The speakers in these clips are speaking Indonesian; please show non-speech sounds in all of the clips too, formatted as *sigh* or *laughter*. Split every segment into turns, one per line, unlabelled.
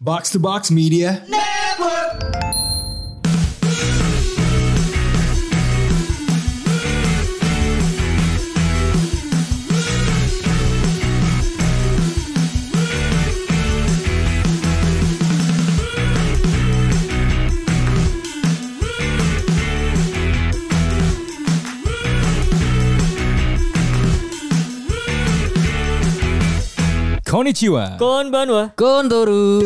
Box to Box Media. Konnichiwa.
Konbanwa.
Kondoru.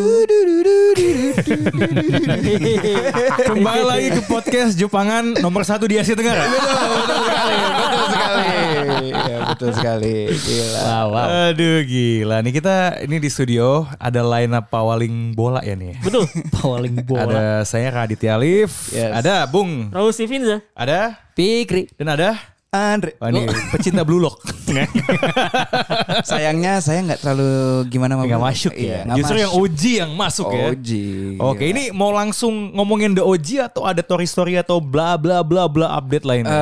Kembali lagi ke podcast Jepangan nomor satu di Asia *laughs* Tenggara.
betul sekali, betul sekali. Iya, betul sekali. Gila. Wow, wow.
Aduh gila nih kita ini di studio ada line up pawaling bola ya nih. *laughs*
Betul. Paling
Ada saya Raditya Alif,
Yes.
ada Bung,
Raul Stevenza.
ada
Pikri.
dan ada
Andre.
Wah, ini pecinta Blue *laughs* Lock.
Sayangnya saya nggak terlalu gimana mau. Iya,
Enggak masuk ya. Justru yang OG yang masuk ya.
OG.
Oke,
Gila.
ini mau langsung ngomongin The OG atau ada Tori Story atau bla bla bla bla update lainnya?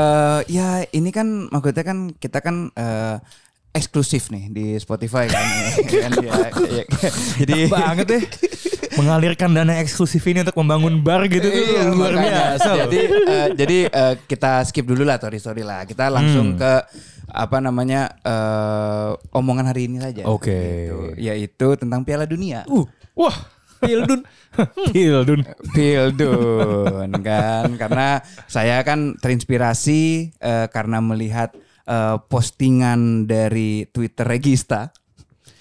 Eh, ya ini kan maksudnya kan kita kan eh, eksklusif nih di
*laughs*
Spotify kan. Ya kan, ya, ya. Jadi
Enak banget deh. *laughs* Mengalirkan dana eksklusif ini untuk membangun bar gitu tuh
Iya,
luar
makanya.
biasa. loh.
Jadi eh, jadi eh, kita skip dulu lah story story lah. Kita
Hmm.
langsung ke apa namanya eh, omongan hari ini saja.
Oke.
Gitu. Yaitu tentang Piala Dunia.
Uh, wah, *laughs* Pildun. Pildun.
Pildun kan karena saya kan terinspirasi eh, karena melihat eh, postingan dari Twitter Regista.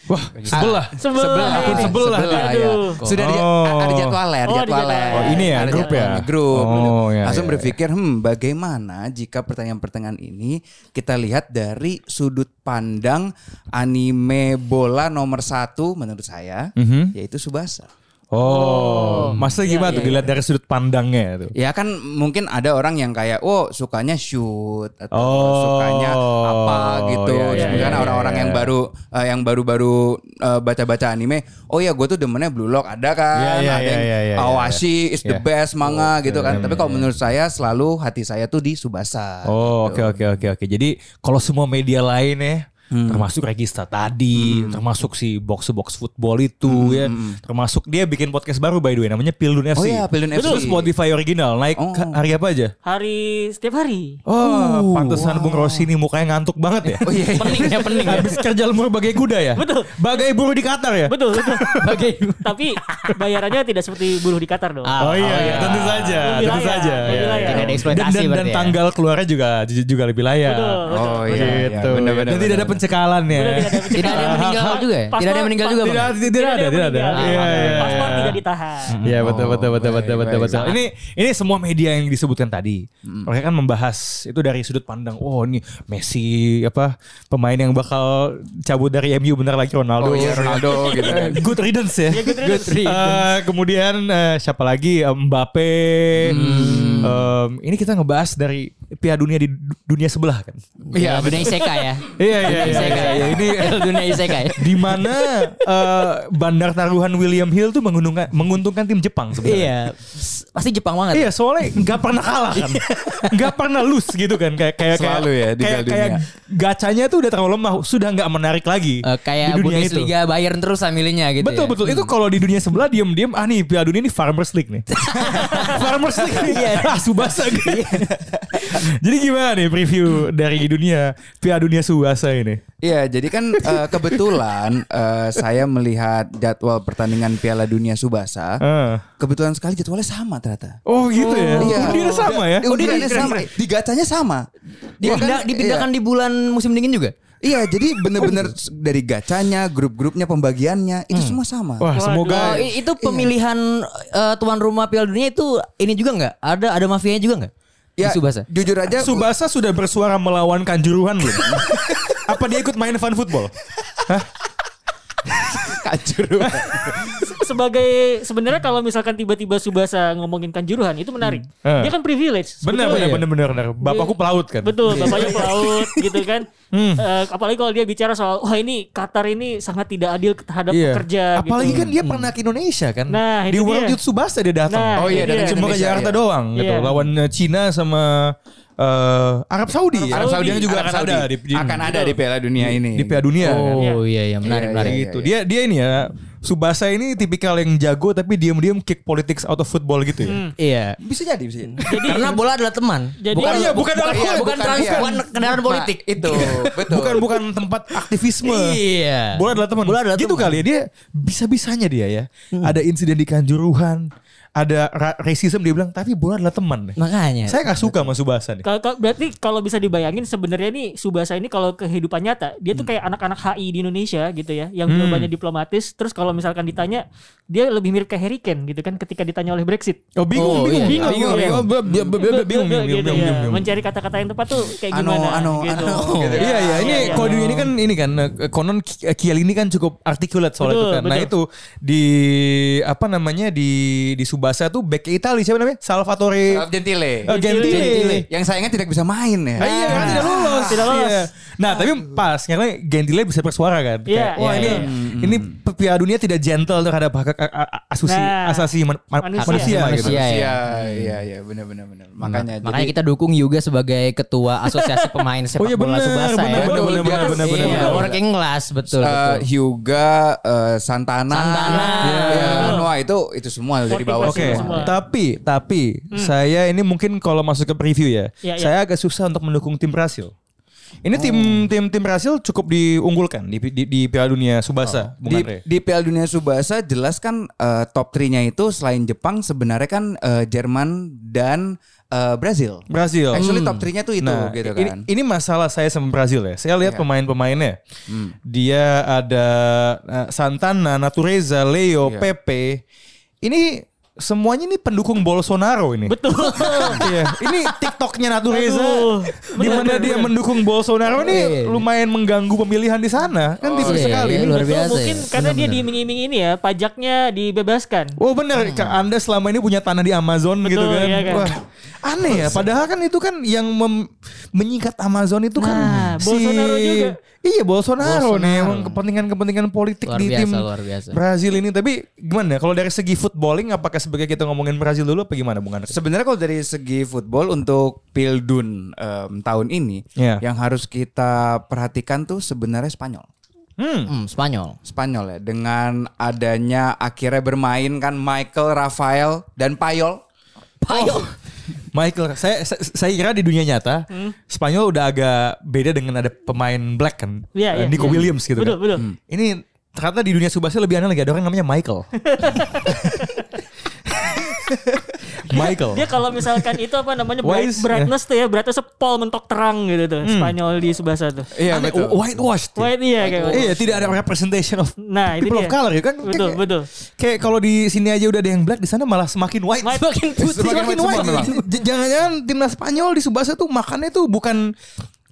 Nah,
Wah, sebelah.
Sebelah.
Akun
ini.
sebelah.
Sebelah.
dia.
ya.
Aduh.
Sudah di-
Oh.
Oh,
ada jadwalnya, ada
ada
jadwalnya.
jadwalnya.
Oh, ini ya,
Ada
grup ya?
jadwalnya, grup.
Oh, ya,
Langsung
ya,
berpikir, hmm, bagaimana jika pertanyaan-pertanyaan ini kita lihat dari sudut pandang anime bola nomor satu menurut saya,
Mhm.
yaitu Subasa.
Oh, masa gimana tuh dilihat dari sudut pandangnya tuh?
Ya kan mungkin ada orang yang kayak oh sukanya shoot atau
Oh,
sukanya apa gitu.
iya, iya,
Misalkan
iya,
orang-orang
iya,
yang
iya.
baru eh, yang baru-baru eh, baca-baca anime, oh ya gue tuh demennya Blue Lock ada
Iya,
kan,
iya,
ada
iya,
yang
iya, iya,
Awashi is the
Iya.
best manga gitu kan. Tapi kalau menurut saya selalu hati saya tuh di Subasa.
Oh, oke oke oke oke. Jadi kalau semua media lain ya termasuk Regista tadi, termasuk si box box football itu ya, termasuk dia bikin podcast baru by the way namanya Pildun FC.
Oh iya, Pildun FC.
Itu Spotify original, naik
Oh.
hari apa aja?
Hari setiap hari.
Oh, pantesan Bung Rosini mukanya ngantuk *laughs* banget ya.
Oh iya.
Pening ya pening ya.
Habis kerja lemur bagai kuda ya?
Betul.
Bagai buruh di Qatar ya?
Betul. betul.
*laughs*
Tapi bayarannya tidak seperti buruh di Qatar dong.
Oh, iya, tentu saja,
Lebih
ya,
tentu
layak,
saja.
lebih
Iya,
layak.
iya.
Tidak ada eksploitasi
dan, dan, dan
berarti ya.
tanggal keluarnya juga juga lebih layak.
*laughs* Betul, betul.
Oh, iya, iya,
gitu. Dan tidak
benar-benar,
ada
benar-benar.
pencekalan ya.
Betul, tidak ada pencekalan.
Tidak ada yang meninggal juga ya?
Paspor-
Tidak ada yang meninggal
*laughs*
juga,
Tidak,
Bang?
tidak, ada,
yang
tidak ada.
meninggal.
Iya, iya,
Paspor
iya.
tidak ditahan.
Iya betul betul betul betul betul betul. Nah, Ini ini semua media yang disebutkan tadi. Mereka kan membahas itu dari sudut pandang. Wow ini Messi apa pemain yang bakal cabut dari MU bentar lagi Ronaldo.
Oh iya Ronaldo
*laughs*
gitu kan.
Eh, good riddance ya.
good riddance.
Good Eh, kemudian eh, siapa lagi Eh, Mbappe. Em, ini kita ngebahas dari Piala Dunia di du- dunia sebelah kan.
Iya, dunia isekai ya.
Iya *laughs* iya iya.
Isekai.
iya, iya. Ini eh,
dunia isekai.
di mana eh, bandar taruhan William Hill tuh menguntungkan menguntungkan tim Jepang sebenarnya.
Iya, s- pasti Jepang banget.
Iya soalnya nggak pernah kalah kan, nggak pernah lose gitu kan kayak kayak
Selalu
kayak,
ya di
kayak,
Piala
kayak
Dunia.
gacanya tuh udah terlalu lemah, sudah nggak menarik lagi
Eh, kayak
di dunia itu.
Bundesliga Bayern terus ambilnya gitu.
betul
ya.
betul itu kalau di dunia sebelah diem-diem ah nih Piala Dunia ini Farmers League nih, Farmers League *laughs* nih, ah Subasa gitu. *laughs* Jadi gimana nih preview dari dunia Piala Dunia Subasa ini?
Iya, jadi kan eh, kebetulan eh, saya melihat jadwal pertandingan Piala Dunia Subasa.
Ah.
Kebetulan sekali jadwalnya sama ternyata.
Oh gitu ya,
Iya.
Undiannya sama ya?
Di undiannya sama. Di gacanya sama. Dia
Dipindah-
Iya.
kan-
dipindahkan di bulan musim dingin juga.
Iya, jadi bener-bener s- dari gacanya, grup-grupnya, pembagiannya itu semua sama.
Wah semoga
Oh, i-
Iya.
itu pemilihan eh, tuan rumah Piala Dunia itu ini juga nggak? Ada ada mafianya juga nggak?
Ya,
Di Subasa.
jujur aja
Subasa sudah bersuara melawan kanjuruhan belum? Apa dia ikut main fan football?
*laughs* kacur.
Sebagai sebenarnya kalau misalkan tiba-tiba Subasa ngomongin kanjuruhan itu menarik.
Hmm.
Dia kan privilege.
Benar, benar,
sebetulnya.
benar, benar, benar. Bapakku pelaut kan.
Betul, bapaknya
*laughs*
pelaut gitu kan.
Hmm.
Eh, apalagi kalau dia bicara soal wah ini Qatar ini sangat tidak adil terhadap pekerja
Iya. Apalagi
gitu.
kan dia pernah ke Indonesia kan.
Nah,
di
itu
World
dia.
Youth Subasa dia datang.
Nah,
Oh iya,
itu
dari
dia.
cuma ke
Indonesia,
Jakarta
iya.
doang gitu.
Iya.
Lawan eh, Cina sama eh, Arab Saudi.
Arab Saudi.
yang juga iya. akan ada di, di,
akan ada di Piala Dunia ini.
di Piala Dunia. kan.
Iya.
Oh iya iya menarik
Iya,
menarik.
iya.
Gitu. Dia dia ini ya Subasa ini tipikal yang jago tapi diam-diam kick politics out of football gitu ya.
Iya.
Bisa jadi, bisa jadi.
Karena bola adalah teman.
Jadi-
Oh iya, bukan
bukan,
dalam
iya,
politik.
bukan trans,
Bukan.
bukan kendaraan politik.
Nah, itu, betul.
Bukan bukan tempat aktivisme.
Iya.
Bola adalah teman.
Bola adalah
gitu
teman.
kali ya dia bisa-bisanya dia ya. Ada insiden di Kanjuruhan, ada ra- racism dia bilang tapi bola adalah teman.
Makanya.
Saya nggak suka sama Subasa nih.
Kalau kalau- berarti kalau bisa dibayangin sebenarnya nih Subasa ini kalau kehidupan nyata dia
Hmm.
tuh kayak anak-anak HI di Indonesia gitu ya yang jawabannya diplomatis terus kalau misalkan ditanya dia lebih mirip kayak Harry Kane gitu kan ketika ditanya oleh Brexit.
Oh bingung,
Oh,
bingung, bingung,
iya.
iya,
bingung, bingung, bingung, bingung, bingung, bingung,
Gitu
bingung,
ya,
bingung, bingung.
Mencari kata-kata yang tepat tuh kayak
Ano,
gimana
ano,
gitu.
ano, gitu ya.
Iya iya ini
iya.
kode ini kan ini kan eh, konon Ki- eh, Kiel ini kan cukup articulate soal
Betul,
itu kan. Nah
betul.
itu di apa namanya di di Subasa tuh back Italia siapa namanya? Salvatore
Ralph Gentile.
eh, Gentile.
Gentile.
Yang sayangnya tidak bisa main ya.
Ah, iya, karena tidak lolos.
Tidak lolos.
Iya. Nah, tapi pas karena Gentile bisa bersuara kan. Kayak,
Iya,
Wah,
iya,
ini
iya.
ini Piala Dunia tidak gentle terhadap hak hak- hak- hak- asusi
Nah,
asasi man- man-
manusia.
manusia, gitu.
Manusia.
Iya, iya, iya, benar benar benar. Makanya
Makanya kita dukung Yuga sebagai ketua asosiasi pemain sepak
Oh iya,
bola
bener,
Subasa ya.
bener,
bener, bener,
Iya,
bener,
bener,
bener.
Working class
eh
betul. betul.
Hyuga, eh, Santana,
Santana.
ya,
Iya.
Noah itu itu semua dari
Working
bawah
class
Oke,
itu semua.
tapi tapi saya ini mungkin kalau masuk ke preview Hmm. ya,
Iya, iya.
saya agak susah untuk mendukung tim Brasil. Ini tim tim tim Brasil cukup diunggulkan di di, di Piala Dunia Subasa, Oh, Bung
di,
Andre.
di Piala Dunia Subasa jelas kan eh, top 3-nya itu selain Jepang sebenarnya kan eh, Jerman dan eh, Brazil. Hmm.
Brasil.
Actually top 3-nya tuh itu
Nah,
gitu
ini,
kan.
ini masalah saya sama Brazil ya. Saya lihat
Iya.
pemain-pemainnya. Dia ada eh, Santana, Natureza, Leo,
Iya.
Pepe. Ini semuanya ini pendukung Bolsonaro ini.
Betul.
*laughs* Iya, ini TikToknya Natureza.
Aduh,
Di
bener,
mana
bener,
dia
bener.
mendukung Bolsonaro
Iya,
ini
iya.
lumayan mengganggu pemilihan di sana. Kan tipis
iya,
sekali.
iya,
Ini
luar
Betul,
biasa
Mungkin
ya.
karena dia
Benar-benar.
diiming-iming ini ya pajaknya dibebaskan.
Oh benar, Kak, Anda selama ini punya tanah di Amazon gitu kan.
Hmm. iya kan.
Wah, aneh ya. Padahal kan itu kan yang mem- menyingkat Amazon itu kan
Nah, Bolsonaro juga.
Iya, Bolsonaro, nih
Bolsonaro.
emang kepentingan-kepentingan politik
Luar
di
biasa,
tim
luar biasa.
Brazil ini. Tapi gimana kalau dari segi footballing apakah sebagai kita ngomongin Brazil dulu apa gimana Bung Andre?
Sebenarnya kalau dari segi football untuk Pildun em, tahun ini
Iya.
yang harus kita perhatikan tuh sebenarnya Spanyol.
Hmm.
Hmm, Spanyol.
Spanyol ya dengan adanya akhirnya bermain kan Michael, Rafael dan Payol.
Payol.
Michael, saya, saya saya kira di dunia nyata
Hmm.
Spanyol udah agak beda dengan ada pemain black kan,
Iya, iya,
Nico
iya.
Williams gitu
Betul,
kan.
betul.
Ini ternyata di dunia subasnya lebih aneh lagi ada orang namanya
*laughs*
Michael. Michael.
Dia kalau misalkan itu apa namanya
Why
bright-
is-
brightness tuh ya, brightness pol mentok terang gitu
Hmm.
tuh Spanyol di Subasa tuh.
Iya
Aneh, whitewashed. ya.
Why iya kayak
Iya, tidak ada representation of
Nah, itu
people
dia.
of color ya kan.
Betul,
kayak,
betul.
Kayak kalau di sini aja udah ada yang black, di sana malah semakin white.
White.
Semakin putih.
*laughs* Semakin
Semakin white
white.
semua memang.
J- Jangan-jangan timnas Spanyol di Subasa tuh makannya tuh bukan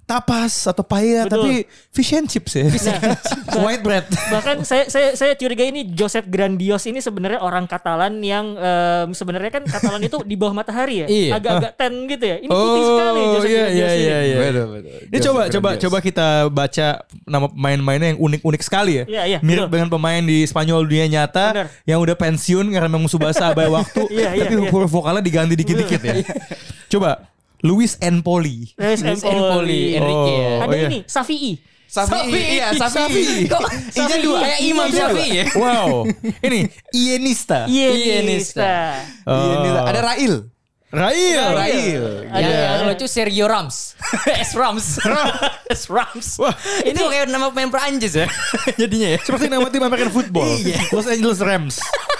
tapas atau paella
Betul.
tapi fish and chips ya.
Nah,
*laughs* white bread.
bahkan saya saya saya curiga ini Josep Grandios ini sebenarnya orang Katalan yang em, sebenarnya kan Katalan itu di bawah matahari ya,
Iya.
agak-agak ten gitu ya. Ini putih sekali Josep Grandios ini.
Oh, iya.
Betul, betul.
Ini coba coba coba kita baca nama pemain-pemainnya yang unik-unik sekali ya.
Iya, iya,
Mirip
betul.
dengan pemain di Spanyol dunia nyata
Benar.
yang udah pensiun karena memang subasa abai waktu,
*laughs* Iya, iya,
tapi
iya.
huruf vokalnya diganti dikit-dikit ya. coba Luis Empoli.
Luis
Luis
Empoli.
Empoli, Enrique ya.
Oh,
Ada
iya.
ini Safi'i.
Safi, iya Safi.
Kok Inya dua kayak Imam
Iya,
Syafi'i ya.
Wow. Ini Ienista. Oh.
Ienista.
Iya, ini ada Rail.
Rail.
Rail.
Yang,
Ada-
yang lucu Sergio *laughs* Rams. S Rams. *laughs* S Rams.
Wah.
Itu kayak nama pemain Perancis ya. Jadinya ya.
Seperti nama tim American Football.
Iya.
Los Angeles Rams.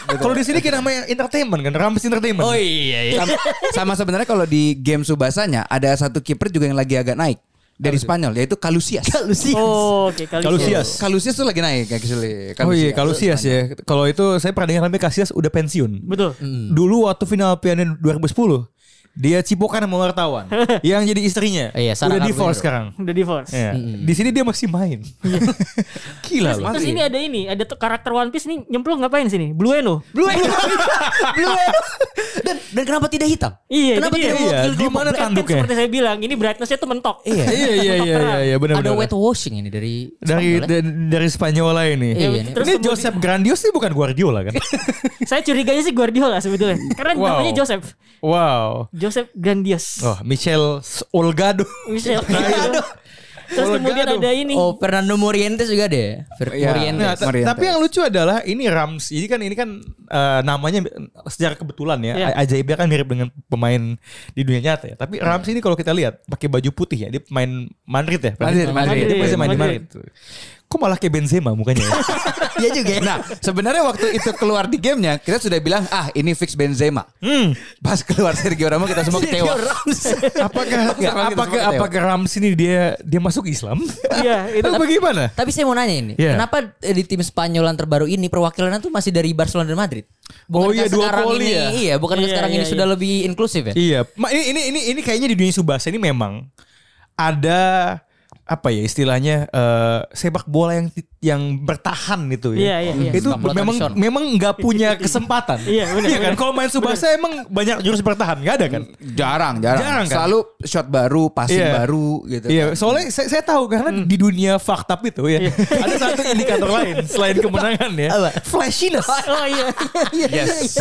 Kalau di sini kayak namanya entertainment kan, Rams Entertainment.
Oh iya iya.
Sama- Sama sebenarnya kalau di game Subasanya ada satu kiper juga yang lagi agak naik dari Spanyol yaitu Kalusias.
Lucy.
Oh, oke kali.
Kalusias.
Kalusias tuh lagi naik actually.
iya. Oh iya, kalau Sias ya. Kalau itu saya pernah dengar namanya Kasias udah pensiun.
Betul.
Hmm. Dulu waktu final Piala Dunia 2010, dia cipokan sama wartawan
*laughs*
yang jadi istrinya.
Iya, Sarah Hmm.
udah divorce
Carbonero.
sekarang.
Udah divorce.
Iya. Di sini dia masih main.
Iya.
*laughs* Gila loh.
Terus ini ada ini, ada t- karakter One Piece nih nyemplung ngapain sini? Blueno.
Blue Whale. Blue Whale. *laughs* Dan dan kenapa tidak hitam?
Iya,
Kenapa
itu dia.
tidak
Iya,
mewakili
di
kelompok?
mana
Kan
tanduknya?
seperti saya bilang, ini brightnessnya tuh mentok.
Iya.
Iya iya
Mentok
iya
terang.
iya benar
Ada
benar.
wet washing ini dari
Dari
Spanyol ya?
da- dari Spanyola ini.
Iya,
ini
ini.
Terus kemudian-
Joseph Grandios sih bukan Guardiola
*laughs*
kan?
Saya curiganya sih Guardiola sebetulnya. Karena
Wow. Oh.
namanya Joseph.
wow.
Joseph Grandios.
Oh, Michel Olgado.
Michel.
Iya,
Nah, itu.
Terus kemudian
Delgado.
ada ini.
Oh, Fernando Morientes juga deh. Fer-
Iya.
Morientes.
Nah, ta-
Morientes.
tapi yang lucu adalah ini Rams. Ini kan ini kan eh, namanya secara kebetulan ya.
Iya.
a- Ajaibnya kan mirip dengan pemain di dunia nyata ya. Tapi
Iya.
Rams ini kalau kita lihat pakai baju putih ya, dia main Madrid ya.
Madrid, Madrid.
Dia masih main di
Madrid.
Madrid. Kok malah kayak Benzema mukanya ya?
*laughs* Iya juga. ya.
Nah, sebenarnya waktu itu keluar di gamenya kita sudah bilang ah ini fix Benzema. Pas keluar Sergio Ramos kita semua kecewa.
apakah
Enggak,
apakah apakah Rams ini dia dia masuk Islam? *laughs*
Iya, itu.
Atau bagaimana?
Tapi saya mau nanya ini,
Iya.
kenapa eh, di tim Spanyolan terbaru ini perwakilannya tuh masih dari Barcelona dan Madrid?
Oh iya,
kayak
dua
sekarang
poli
ini,
ya.
Iya, bukan
Iya,
sekarang
iya,
ini
iya.
sudah lebih inklusif *laughs* ya?
Iya, Ma, ini ini ini ini kayaknya di dunia subasa ini memang ada apa ya istilahnya eh, sepak bola yang yang bertahan itu ya.
Iya, iya, iya.
Itu
Sepak bola
memang
tradisional.
memang nggak punya kesempatan.
*laughs* Iya, benar,
kan?
benar.
Kalau main subasa emang banyak jurus bertahan nggak ada kan?
Jarang, jarang.
Jarang, kan?
Selalu shot baru, passing
Iya.
baru gitu.
Iya, soalnya saya, saya tahu karena di dunia fakta itu ya *laughs* ada satu indikator lain selain kemenangan ya,
Apa?
flashiness.
Oh iya.
Yes.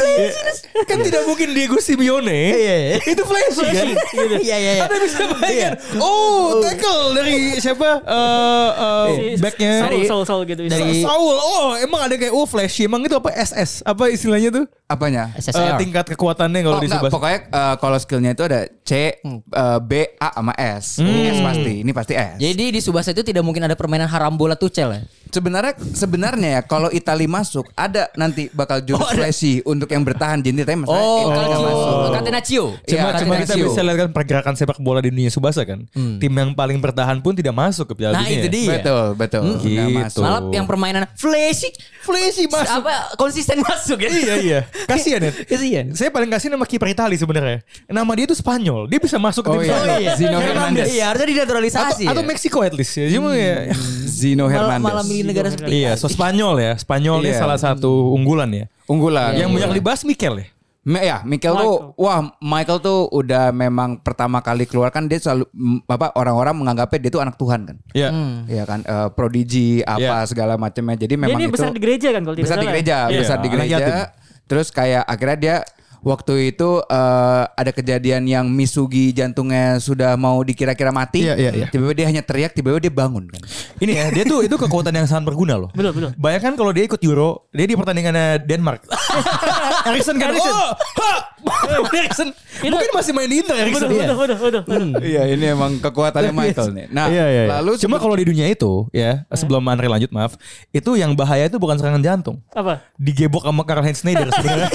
kan tidak mungkin Diego Simeone itu flashy kan?
Iya, iya, iya.
Anda bisa bayangkan. Oh, tackle dari siapa? Eh, eh,
Si-
backnya
Saul, Saul, Iya. Saul gitu.
Sa- Saul. Oh, emang ada kayak oh flashy. Emang itu apa SS? Apa istilahnya tuh?
Apanya?
Eh,
SSR.
tingkat kekuatannya kalau
Oh,
di
enggak,
Subasa.
pokoknya eh, kalau skillnya itu ada C, eh, B, A sama S. S pasti. Ini pasti S.
Jadi di Subasa itu tidak mungkin ada permainan haram bola tuchel ya?
Sebenarnya sebenarnya ya kalau Itali masuk ada nanti bakal jurus flashy untuk yang bertahan jadi tapi masalahnya
Oh. Eh,
Itali nggak masuk.
Calcio. Catenaccio.
Oh. Cuma,
Iya,
cuma kita
Catenaccio.
bisa lihat kan pergerakan sepak bola di dunia subasa kan. Tim yang paling bertahan pun tidak masuk ke Piala
Nah,
Dunia.
itu dia.
Betul, betul.
Hmm,
Nggak
gitu.
masuk.
Malah yang permainan flashy Iya,
Flashy masuk.
apa konsisten masuk ya?
iya
*laughs*
iya. Kasihan ya.
Kasihan.
Saya paling kasih nama kiper Itali sebenarnya. Nama dia itu Spanyol. Dia bisa masuk ke
Oh
tim
iya.
Spanyol.
Oh, iya. Zino Hernandez.
Iya, harusnya
Atau,
dinaturalisasi.
atau
ya.
Meksiko at least ya. Cuma ya
Zino
malah,
Hernandez.
malah milih negara seperti
Iya, so Spanyol ya. Spanyol ini
Iya.
salah satu unggulan ya.
Unggulan.
yang banyak dibahas Mikel ya.
Me- ya, Michael tuh wah Michael tuh udah memang pertama kali keluar kan dia selalu m- apa orang-orang menganggapnya dia tuh anak Tuhan kan.
Iya.
Iya kan eh, prodigi apa
Iya.
segala macamnya.
Dia
Jadi memang
ini
itu
besar di gereja kan kalau tidak
besar di
salah.
gereja,
Iya.
besar di
Anak
gereja.
yatim.
Terus kayak akhirnya dia waktu itu eh, ada kejadian yang Misugi jantungnya sudah mau dikira-kira mati.
Iya, iya, iya.
Tiba-tiba dia hanya teriak, tiba-tiba dia bangun kan.
Ini ya, dia tuh itu kekuatan yang sangat berguna loh.
Betul, betul.
Bayangkan kalau dia ikut Euro, dia di pertandingannya *laughs* Denmark. Erikson kan, oh, ha! Erikson. Mungkin masih main di Inter
Betul,
Erikson. Iya.
betul, betul, betul, betul.
Iya, ini emang *laughs* kekuatannya Michael nih. Nah,
Iya, iya, iya.
lalu Hmm.
cuma kalau di dunia itu ya sebelum Andre lanjut maaf itu yang bahaya itu bukan serangan jantung
Apa?
digebok sama Karl Heinz Schneider
*laughs*
sebenarnya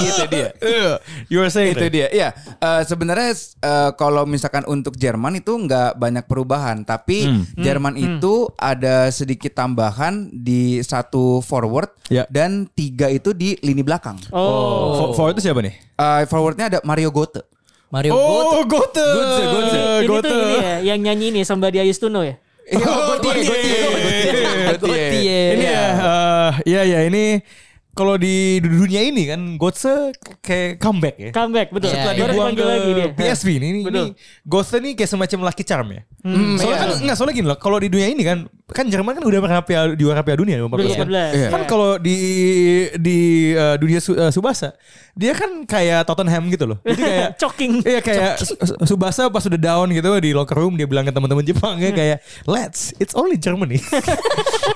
Itu dia.
Eh, you were saying
itu
that.
dia iya Eh, sebenarnya eh, kalau misalkan untuk Jerman itu nggak banyak perubahan tapi
Hmm.
Jerman itu ada sedikit tambahan di satu forward
Ya.
dan tiga itu di lini belakang
Oh.
For- forward itu siapa nih
Eh, forwardnya ada Mario Gote
Mario Götze.
Oh, Gote. Gote,
Ini tuh ini ya, yang nyanyi ini Somebody I Used to Know ya.
Iya,
Oh,
Gote,
Gote.
Gote, Gote.
Gautier.
Ini ya,
Iya.
eh, ya ya ini kalau di dunia ini kan Gotse kayak comeback ya.
Comeback, betul.
Iya,
Setelah
Dibuang
Baru dipanggil
ke
lagi dia. *laughs*
PSV ini, ini, ini
Betul.
Gotse ini kayak semacam lucky charm ya.
Hmm,
soalnya
iya.
kan enggak soalnya gini loh, kalau di dunia ini kan kan Jerman kan udah pernah piala juara Piala Dunia 2014 kan. Kan
2014, iya.
kalau di di eh, dunia su- eh, Subasa dia kan kayak Tottenham gitu loh. Jadi
*laughs*
kayak
Coking.
Iya kayak Su- Subasa pas udah down gitu di locker room dia bilang ke teman-teman Jepangnya
Hmm.
kayak let's it's only
*laughs*
Germany.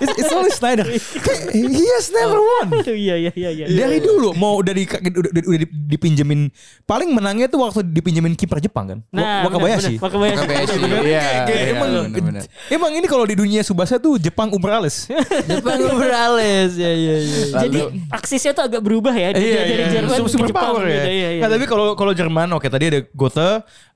it's, it's only Schneider. Kayak, He has never won.
Iya, iya, iya, iya.
Dari dulu mau udah di udah, udah- udah dipinjemin paling menangnya tuh waktu dipinjemin kiper Jepang kan.
Nah,
Wa- Wakabayashi.
benar, benar. Wakabayashi.
Wakabayashi.
Gitu kan?
Iya,
Kayak- kayak
iya,
emang
benar-benar.
emang ini kalau di dunia Subasa tuh Jepang
*laughs*
umbrales.
Depan Morales. Ya ya ya.
Jadi
Lalu-
aksisnya tuh agak berubah ya dari, dari Jerman
Iya, Super-
ke
super
Jepang
power ya.
gitu. Iya, iya.
Nah, tapi kalau kalau Jerman oke tadi ada Gotha,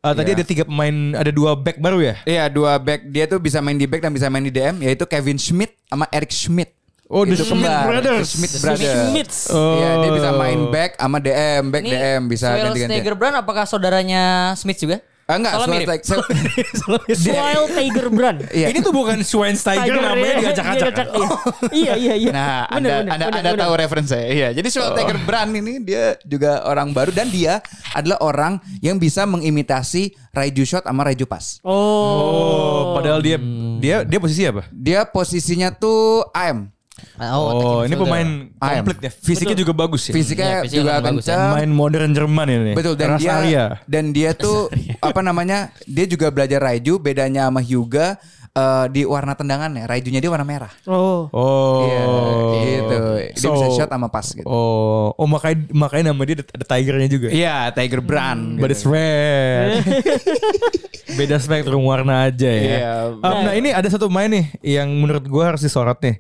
eh, tadi
Iya.
ada tiga pemain, ada dua back baru ya.
Iya dua back dia tuh bisa main di back dan bisa main di DM yaitu Kevin Schmidt sama Eric Schmidt.
Oh, the
Itu
Schmidt
kembar.
brothers.
Schmidt
The
brothers.
Schmidts.
Iya dia bisa
Oh.
main back sama DM, back DM bisa ganti-ganti.
Schneiderbrand apakah saudaranya Smith juga?
Ah, enggak,
Soalnya
Soalnya
mirip.
like- so-
*laughs*
Soil Tiger Brand.
Iya.
Ini tuh bukan Schweinsteiger namanya diacak-acak.
diacak-acak, Iya, iya, iya.
Nah,
Benar,
Anda
benar,
Anda,
benar,
anda
benar.
tahu referensi saya. Iya, jadi
Oh.
Soal Tiger Brand ini dia juga orang baru dan dia adalah orang yang bisa mengimitasi Raiju Shot sama Raiju Pass.
Oh.
Oh, padahal dia dia dia posisi apa?
Dia posisinya tuh AM.
Oh, ini pemain
AM.
komplit ya. Fisiknya juga bagus ya.
Fisiknya
Iya, fisiknya
juga
bagus ya.
kencang.
Main modern Jerman ini.
Betul dan
Ras
dia
Arya.
dan dia tuh apa namanya? Dia juga belajar Raiju, bedanya sama Hyuga eh, di warna tendangannya, Raijunya dia warna merah.
Oh.
Oh.
Iya, gitu. Dia bisa
So-
shot sama pas gitu.
Oh, oh makanya makanya nama dia ada, ada tigernya juga.
Iya, gitu. Tiger
Hmm.
Brand.
But it's red. *laughs* Beda spektrum warna aja ya.
Iya.
Um, nah ini ada satu pemain nih yang menurut gua harus disorot nih.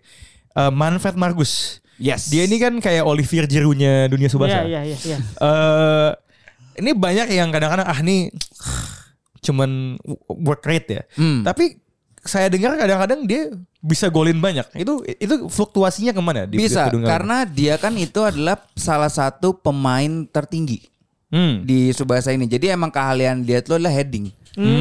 Uh, Manfred Margus.
Yes.
Dia ini kan kayak Olivier Giroud-nya dunia
Iya
subasa.
iya iya iya.
Eh, ini banyak yang kadang-kadang ah nih cuman work rate ya.
Hmm.
Tapi saya dengar kadang-kadang dia bisa golin banyak. Itu itu fluktuasinya kemana? Di
bisa
Kedunggalan?
karena dia kan itu adalah salah satu pemain tertinggi
Hmm.
di Subasa ini. Jadi emang keahlian dia itu adalah heading.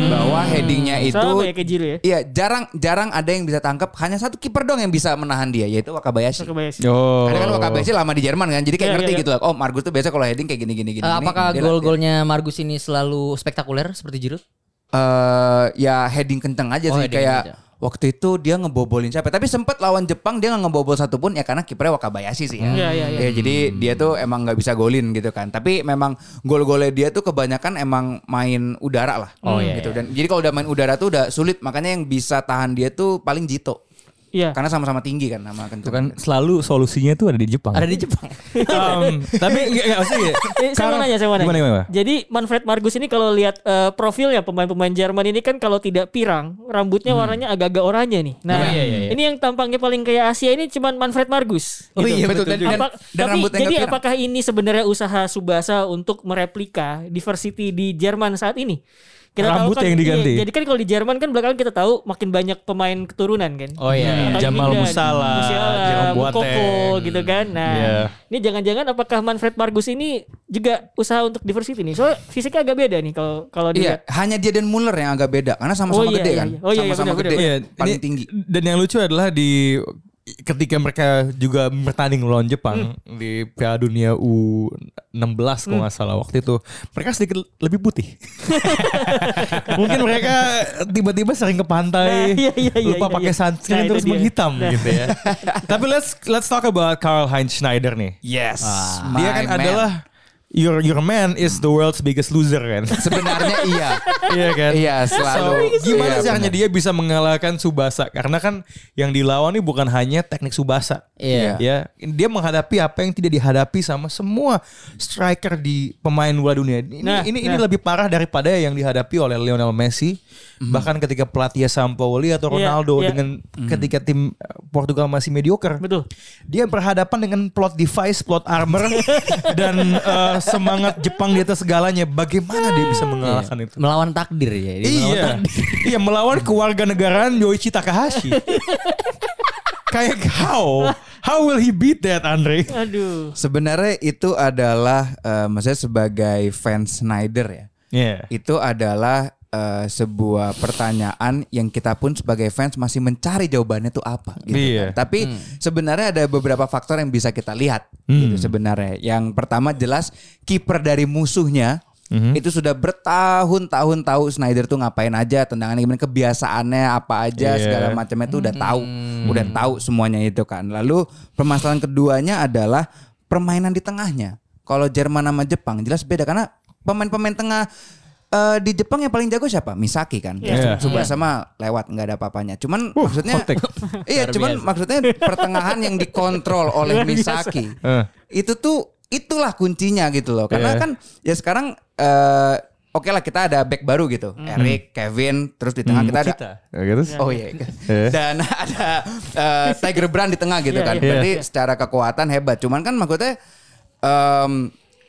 Bahwa headingnya itu
Hmm. Sama ya kayak Jiru ya.
Iya, jarang jarang ada yang bisa tangkap. Hanya satu kiper dong yang bisa menahan dia, yaitu Wakabayashi.
Kebayang sih.
Oh.
Karena kan
ya?
Wakabayashi lama di Jerman kan, jadi kayak
Iya,
ngerti
iya,
gitu. Like, oh, Margus tuh biasa kalau heading kayak gini-gini gini.
Eh, apakah
Dia latihan.
gol-golnya Margus ini selalu spektakuler seperti Giroud?
Eh, ya heading kenceng aja
Oh,
sih
heading
kayak
aja.
waktu itu dia ngebobolin siapa? Tapi sempat lawan Jepang dia nggak ngebobol satupun ya karena kipernya Wakabayashi sih ya.
Iya, iya, iya.
Ya, jadi dia tuh emang nggak bisa golin gitu kan. Tapi memang gol-golnya dia tuh kebanyakan emang main udara lah.
Oh, iya,
gitu. Dan jadi kalau udah main udara tuh udah sulit. Makanya yang bisa tahan dia tuh paling Jito.
Iya.
Karena sama-sama tinggi kan sama kentut.
Itu kan selalu solusinya tuh ada di Jepang. *laughs*
Ada di Jepang.
Um, tapi enggak enggak sih.
*laughs* Eh, saya mau
Karena-
nanya, saya mau nanya.
Gimana, gimana?
Jadi Manfred Margus ini kalau lihat eh, profilnya pemain-pemain Jerman ini kan kalau tidak pirang, rambutnya warnanya agak-agak oranye nih. Nah,
Iya, iya, iya.
ini yang tampangnya paling kayak Asia ini cuman Manfred Margus. Gitu.
Oh iya, betul
Dan, dan,
Apa-
dan
tapi
rambutnya
jadi
nggak pirang.
apakah ini sebenarnya usaha Subasa untuk mereplika diversity di Jerman saat ini?
Rambut
tahu kan,
yang diganti.
iya, jadi kan kalau di Jerman kan belakangan kita tahu makin banyak pemain keturunan kan.
Oh iya, iya.
Atau
Jamal
Yudan,
Musiala,
Musiala,
Jerome
Mukoko
Boateng.
gitu kan. Nah,
Iya.
ini jangan-jangan apakah Manfred Margus ini juga usaha untuk diversity nih? Soalnya fisiknya agak beda nih kalau kalau
Iya,
dilihat.
hanya dia dan Muller yang agak beda karena
ya?
sama-sama
Oh, iya,
gede
iya,
kan.
iya. Oh, iya, iya,
sama-sama
benar,
gede.
benar,
Iya,
Paling
ini-
tinggi.
Dan yang lucu adalah di ketika mereka juga bertanding melawan Jepang
Hmm.
di Piala Dunia U16 kalau nggak salah waktu itu, mereka sedikit lebih putih. *laughs* Mungkin mereka tiba-tiba sering ke pantai,
Nah, iya, iya, iya,
lupa
iya,
pakai
iya.
sunscreen
Nah, itu
terus
dia.
menghitam gitu
*laughs*
ya. Tapi let's let's talk about Karl Heinz Schneider nih.
Yes.
Dia kan adalah your your man is the world's biggest loser
*laughs*
kan.
sebenarnya iya.
*laughs* Iya kan?
Iya,
So,
selalu.
gimana
Iya,
caranya dia bisa mengalahkan Subasa? Karena kan yang dilawan ini bukan hanya teknik Subasa.
*laughs* Iya.
Ya, dia menghadapi apa yang tidak dihadapi sama semua striker di pemain bola dunia. Ini
Nah,
ini ini
nah.
lebih parah daripada yang dihadapi oleh Lionel Messi. Bahkan ketika pelatih Sampaoli atau
Mhm. Iya,
Ronaldo
iya.
dengan ketika tim eh, Portugal masih mediocre.
Betul.
Dia berhadapan dengan plot device, plot
*laughs*
armor dan eh, semangat Jepang di atas segalanya. Bagaimana dia bisa
Iya.
mengalahkan itu?
Melawan takdir ya. Dia melawan
*laughs* Iya.
takdir.
iya melawan kewarganegaraan Yoichi Takahashi. Kayak how? How will he beat that Andre?
Aduh.
Sebenarnya itu adalah eh, maksudnya sebagai fans Snyder ya.
Iya.
Itu adalah eh, sebuah pertanyaan yang kita pun sebagai fans masih mencari jawabannya tuh apa gitu
Iya.
kan. Tapi sebenarnya ada beberapa faktor yang bisa kita lihat
Hmm.
gitu sebenarnya. Yang pertama jelas kiper dari musuhnya
Hmm.
itu sudah bertahun-tahun tahu Snyder tuh ngapain aja, tendangannya gimana, kebiasaannya apa
Iya.
aja
Hmm.
segala macamnya tuh udah tahu, udah tahu semuanya itu kan. Lalu permasalahan keduanya adalah permainan di tengahnya. Kalau Jerman sama Jepang jelas beda karena pemain-pemain tengah eh, di Jepang yang paling jago siapa? Misaki kan.
Iya.
Tsubasa mah lewat nggak ada apa-apanya. Cuman
Uh,
maksudnya
kontak.
*laughs* Iya, cuman maksudnya pertengahan yang
*laughs*
dikontrol oleh
Luar biasa.
Misaki.
Eh.
Itu tuh itulah kuncinya gitu loh.
Iya.
Karena kan ya sekarang eh, oke lah kita ada back baru gitu.
Hmm.
Eric, Kevin, terus di tengah kita ada
Ya, gitu.
Oh iya.
Iya.
Dan *laughs* ada eh, Tiger Brand di tengah
Iya,
gitu
iya.
kan. Berarti secara kekuatan hebat. Cuman kan maksudnya em,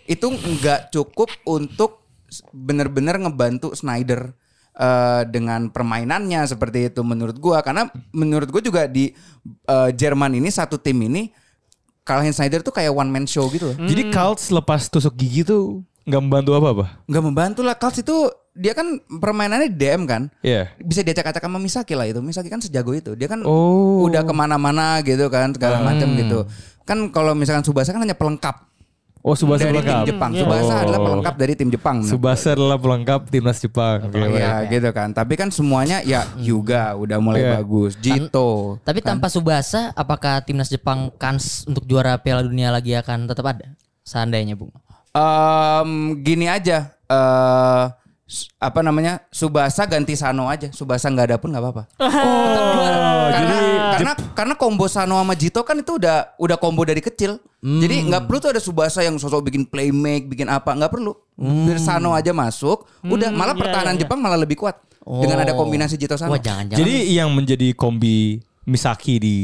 itu nggak cukup untuk bener-bener ngebantu Snyder eh, dengan permainannya seperti itu menurut gua karena menurut gua juga di eh, Jerman ini satu tim ini Karl-Heinz Snyder tuh kayak one man show gitu
Hmm.
loh.
Jadi Kalt lepas tusuk gigi tuh nggak membantu apa-apa.
Nggak membantu lah Karl itu dia kan permainannya di DM kan.
Iya.
bisa diacak-acak sama Misaki lah itu. Misaki kan sejago itu. Dia kan
Oh. Hmm.
udah kemana-mana gitu kan segala macam gitu. Kan kalau misalkan Subasa kan hanya pelengkap
Oh Subasa
dari
pelengkap.
tim Jepang.
Oh.
Subasa adalah pelengkap dari tim Jepang.
Subasa adalah pelengkap timnas Jepang. Oke, baik.
Iya gitu kan. Tapi kan semuanya ya Yuga udah mulai
Iya.
bagus. Jito.
Tapi tanpa Subasa, apakah timnas Jepang kans untuk juara Piala Dunia lagi akan tetap ada? Seandainya, Bung.
Em, gini aja. eh s- apa namanya Subasa ganti Sano aja Subasa nggak ada pun nggak apa-apa
Oh,
karena
jadi
karena karena combo Sano sama Jito kan itu udah udah combo dari kecil jadi nggak perlu tuh ada Subasa yang sosok bikin playmake bikin apa nggak perlu Biar Sano aja masuk udah malah
iya,
pertahanan
iya, iya.
Jepang malah lebih kuat dengan ada kombinasi Jito Sano
Wah jangan-jangan.
Jadi yang menjadi kombi Misaki di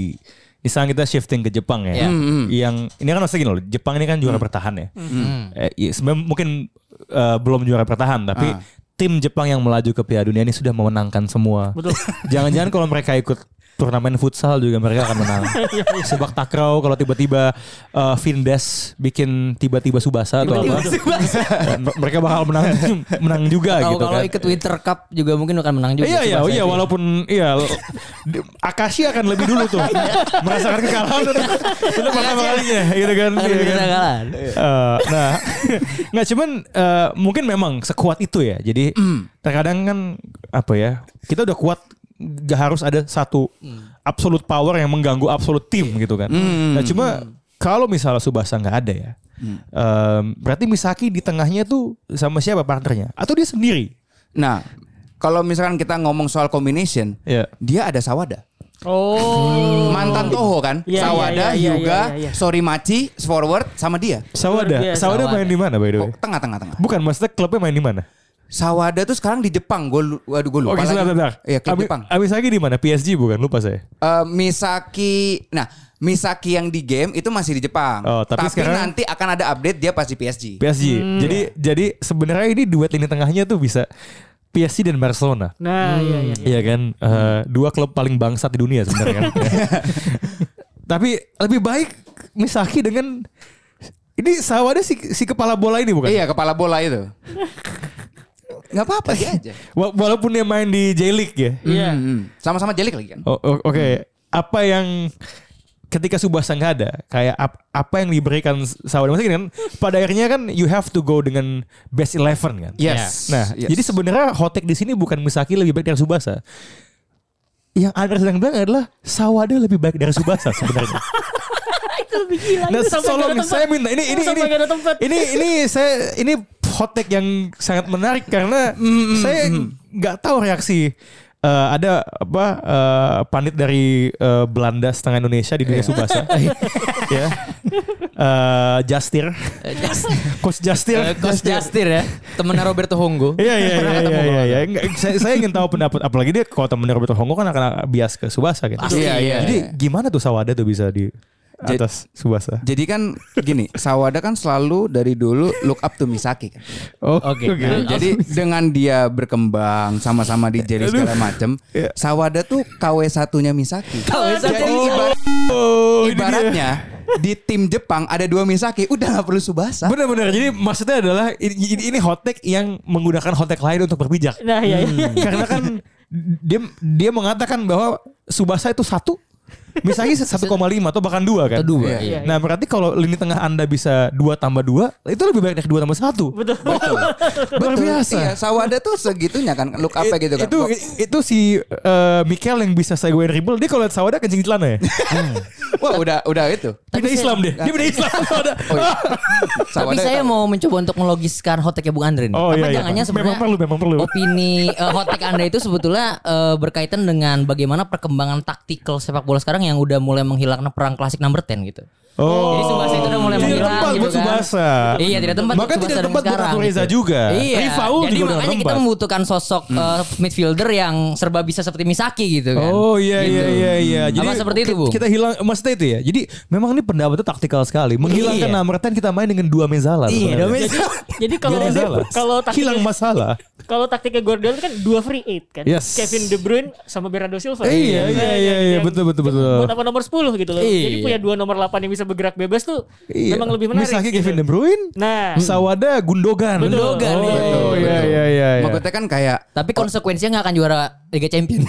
misalnya kita shifting ke Jepang ya.
Iya. Hmm.
Yang ini kan maksudnya gini loh, Jepang ini kan juara bertahan ya. Eh, iya, sebenarnya mungkin eh, belum juara bertahan tapi
Ah.
tim Jepang yang melaju ke Piala Dunia ini sudah memenangkan semua.
Betul.
*laughs* Jangan-jangan kalau mereka ikut turnamen futsal juga mereka akan
*laughs*
menang.
Iya,
Sebab takraw kalau tiba-tiba eh, Vindes bikin tiba-tiba Subasa atau apa.
*laughs*
eh, *laughs* mereka bakal menang menang juga
Atau
gitu
kalau
kan.
ikut Twitter Cup juga mungkin akan menang juga.
Iya iya
Tsubasa
iya
itu.
walaupun iya di- Akashi akan lebih dulu
*laughs*
tuh merasakan kekalahan untuk untuk pertama kalinya gitu kan.
Akan
iya
lebih
kan.
kekalahan.
Eh, nah *laughs* nggak cuman eh, mungkin memang sekuat itu ya. Jadi terkadang kan apa ya kita udah kuat gak harus ada satu
Hmm.
absolute power yang mengganggu absolute tim gitu kan. Nah cuma kalau misalnya Subasa nggak ada ya, em, berarti Misaki di tengahnya tuh sama siapa partnernya? Atau dia sendiri?
nah kalau misalkan kita ngomong soal combination
Ya.
dia ada Sawada
Oh.
mantan Toho kan
Iya, iya,
Sawada
iya, iya,
Hyuga
iya, iya.
Sorimachi forward sama dia
Sawada,
Luar biasa.
Sawada main di mana by the
Oh,
way?
tengah tengah tengah
Bukan maksudnya klubnya main di mana?
Sawada tuh sekarang di Jepang gue waduh gue
Oh,
lupa
Oke,
gitu,
lagi.
sebentar, sebentar.
iya klub
Abi-
Jepang
Abis lagi di mana? PSG bukan, lupa saya.
Eh, Misaki nah Misaki yang di game itu masih di Jepang
Oh, tapi sekarang-
nanti akan ada update dia pasti PSG
PSG. jadi jadi sebenarnya ini duet lini tengahnya tuh bisa PSG dan Barcelona.
Nah, iya iya. iya.
Iya kan? Eh, dua klub paling bangsat di dunia *laughs* sebenarnya kan. Tapi lebih baik Misaki dengan ini Sawada si, si kepala bola ini bukan?
iya kepala bola itu nggak apa-apa dia aja
Wa- Walaupun dia main di J-League ya.
*laughs* Iya.
Hmm, sama-sama jelik lagi kan
Oh, o- Oke, apa yang ketika Subasa nggak ada, kayak ap- apa yang diberikan Sawada? Maksudnya gini kan, pada akhirnya kan you have to go dengan best eleven kan.
yes
Nah,
Yes.
jadi sebenarnya hotek di sini bukan Misaki lebih baik dari Subasa. Yang Andre sedang bilang adalah Sawada lebih baik dari Subasa
*laughs*
sebenarnya.
Itu lebih gila.
nah,
itu sampai nggak
tolong
ada tempat.
saya minta ini ini
Sampai
ini
nggak ada tempat.
ini ini saya ini hot take yang sangat menarik karena saya nggak tahu reaksi eh, ada apa eh, pandit dari eh, Belanda setengah Indonesia di dunia Subasa ya Eh, Justir
Eh, Justin.
*laughs* Coach Justir
Eh, Coach Justin ya. Temennya Roberto Honggo.
Iya iya iya iya iya. iya. Nggak, saya, saya ingin tahu pendapat apalagi dia kalau temennya Roberto Honggo kan akan bias ke Subasa gitu.
Pasti.
Iya, iya,
Jadi
iya.
gimana tuh Sawada tuh bisa di
Jadi-
atas Subasa?
jadi kan gini Sawada kan selalu dari dulu look up to Misaki kan
Oh,
Oke.
Nah, jadi dengan dia berkembang sama-sama di jeli segala macem,
Iya.
Sawada tuh KW satunya Misaki.
KW satu.
Jadi ibarat-
Oh, ini dia.
ibaratnya di tim Jepang ada dua Misaki, udah nggak perlu Subasa.
Benar-benar. Jadi maksudnya adalah ini, ini, ini hot take yang menggunakan hot take lain untuk berpijak.
Nah, iya iya.
Karena kan dia dia mengatakan bahwa Subasa itu satu, misalnya 1,5 atau bahkan dua kan.
Kedua.
Iya.
iya.
Nah berarti kalau lini tengah anda bisa dua tambah dua, itu lebih baik dari dua tambah satu.
Betul.
*laughs* Luar biasa.
Iya, Sawada tuh segitunya kan, look up gitu kan.
Itu itu si eh, Mikel yang bisa saya gue dribble, dia kalau lihat Sawada kencing di celana ya.
Wah, udah udah itu.
Beda Islam deh. Dia beda Islam Sawada.
Oh,
*laughs*
iya.
Tapi
Sawada
saya
tahu.
mau mencoba untuk melogiskan hoteknya Bung Andre nih.
Oh,
Apa
iya, iya.
jangannya
Memang
sebenarnya
perlu, memang perlu.
Opini eh, hotek Anda itu sebetulnya eh, berkaitan dengan bagaimana perkembangan taktikal sepak bola sekarang yang udah mulai menghilangkan perang klasik number 10 gitu.
Oh.
Jadi Subasa itu udah mulai
Tidak
menghilang
tempat
gitu
buat
kan.
Subasa.
Iya tidak tempat
Ah, Maka
Subasa
tidak
dan
tempat buat
sekarang,
Abu Reza
gitu.
juga.
Iya
Rifaul
Jadi
juga udah
makanya kita
tempat. Hmm.
membutuhkan sosok eh, midfielder yang serba bisa seperti Misaki gitu kan
Oh iya iya iya iya.
Apa seperti itu,
ki-
Bung?
Kita hilang maksudnya itu ya. Jadi memang ini pendapatnya taktikal sekali. Menghilangkan
Iya.
number 10 kita main dengan dua mezala. sebenarnya.
Iya,
Jadi jadi kalau
Dua mezala.
kalau
Iya, hilang
taktiknya
masalah.
kalau taktiknya Guardiola kan dua free eight kan.
Yes.
Kevin De Bruyne sama Bernardo Silva.
Iya,
Nah,
iya, iya,
yang-
iya,
yang-
betul, betul,
yang
betul.
Buat apa nomor 10 gitu loh. Jadi
Iya.
punya dua nomor 8 yang bisa bergerak bebas tuh memang lebih menarik.
Iya. Misalnya
gitu.
Kevin De Bruyne,
Nah,
Sawada Gundogan.
Betul. Gundogan,
Oh, iya
iya,
iya iya. iya.
Maksudnya kan kayak
Tapi konsekuensinya nggak akan juara Liga
*laughs*
Champion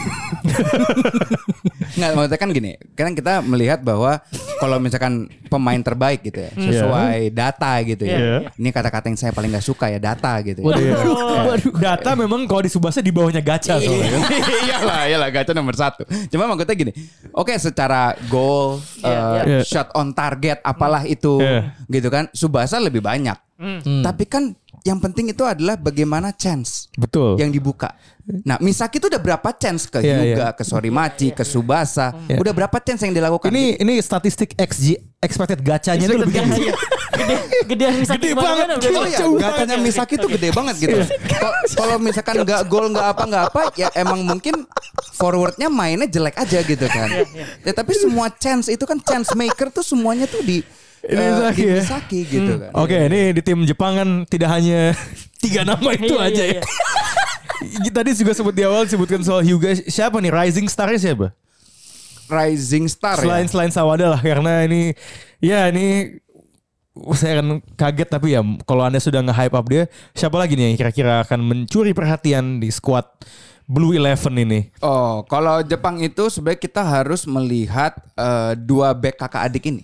Nggak, maksudnya kan gini, kan kita melihat bahwa kalau misalkan pemain terbaik gitu ya, sesuai data gitu ya.
Iya.
Ini kata-kata yang saya paling gak suka ya, data gitu ya.
Iya. Data memang kalau di Subasa di bawahnya gacha
Iya.
soalnya.
Gitu. *laughs* iyalah, iyalah gacha nomor satu. Cuma maksudnya gini, oke secara goal,
Iya, Hmm.
eh,
iya.
shot on target apalah itu
Iya. Hmm.
gitu kan. Subasa lebih banyak. Tapi kan yang penting itu adalah bagaimana chance
Betul.
yang dibuka. Nah, Misaki itu udah berapa chance ke
Iya,
Yuga, ke Sorimachi, ke Subasa? Udah berapa chance yang dilakukan?
Ini ini statistik XG expected gacanya itu lebih gede.
gede gede bisa
Gede banget,
Oh
gila.
iya,
Jauh Iya.
gacanya Misaki tuh gede banget gitu. Ko- Kalau misalkan nggak gol nggak apa nggak apa, ya emang mungkin forwardnya mainnya jelek aja gitu kan.
Iya,
Ya tapi semua chance itu kan chance maker tuh semuanya tuh di
*laughs* Ini
eh,
Misaki
di
ya?
Misaki gitu kan.
Oke, ini di tim Jepang kan tidak hanya *laughs* tiga nama itu
Iya,
aja
iya,
ya. Tadi juga sebut di awal sebutkan soal Hyuga siapa nih rising star-nya siapa?
Rising Star
Selain
ya.
selain Sawada lah karena ini ya ini saya akan kaget tapi ya kalau Anda sudah nge-hype up dia, siapa lagi nih yang kira-kira akan mencuri perhatian di squad Blue Eleven ini? *laughs*
Oh, kalau Jepang itu sebenarnya kita harus melihat eh, dua back kakak adik ini.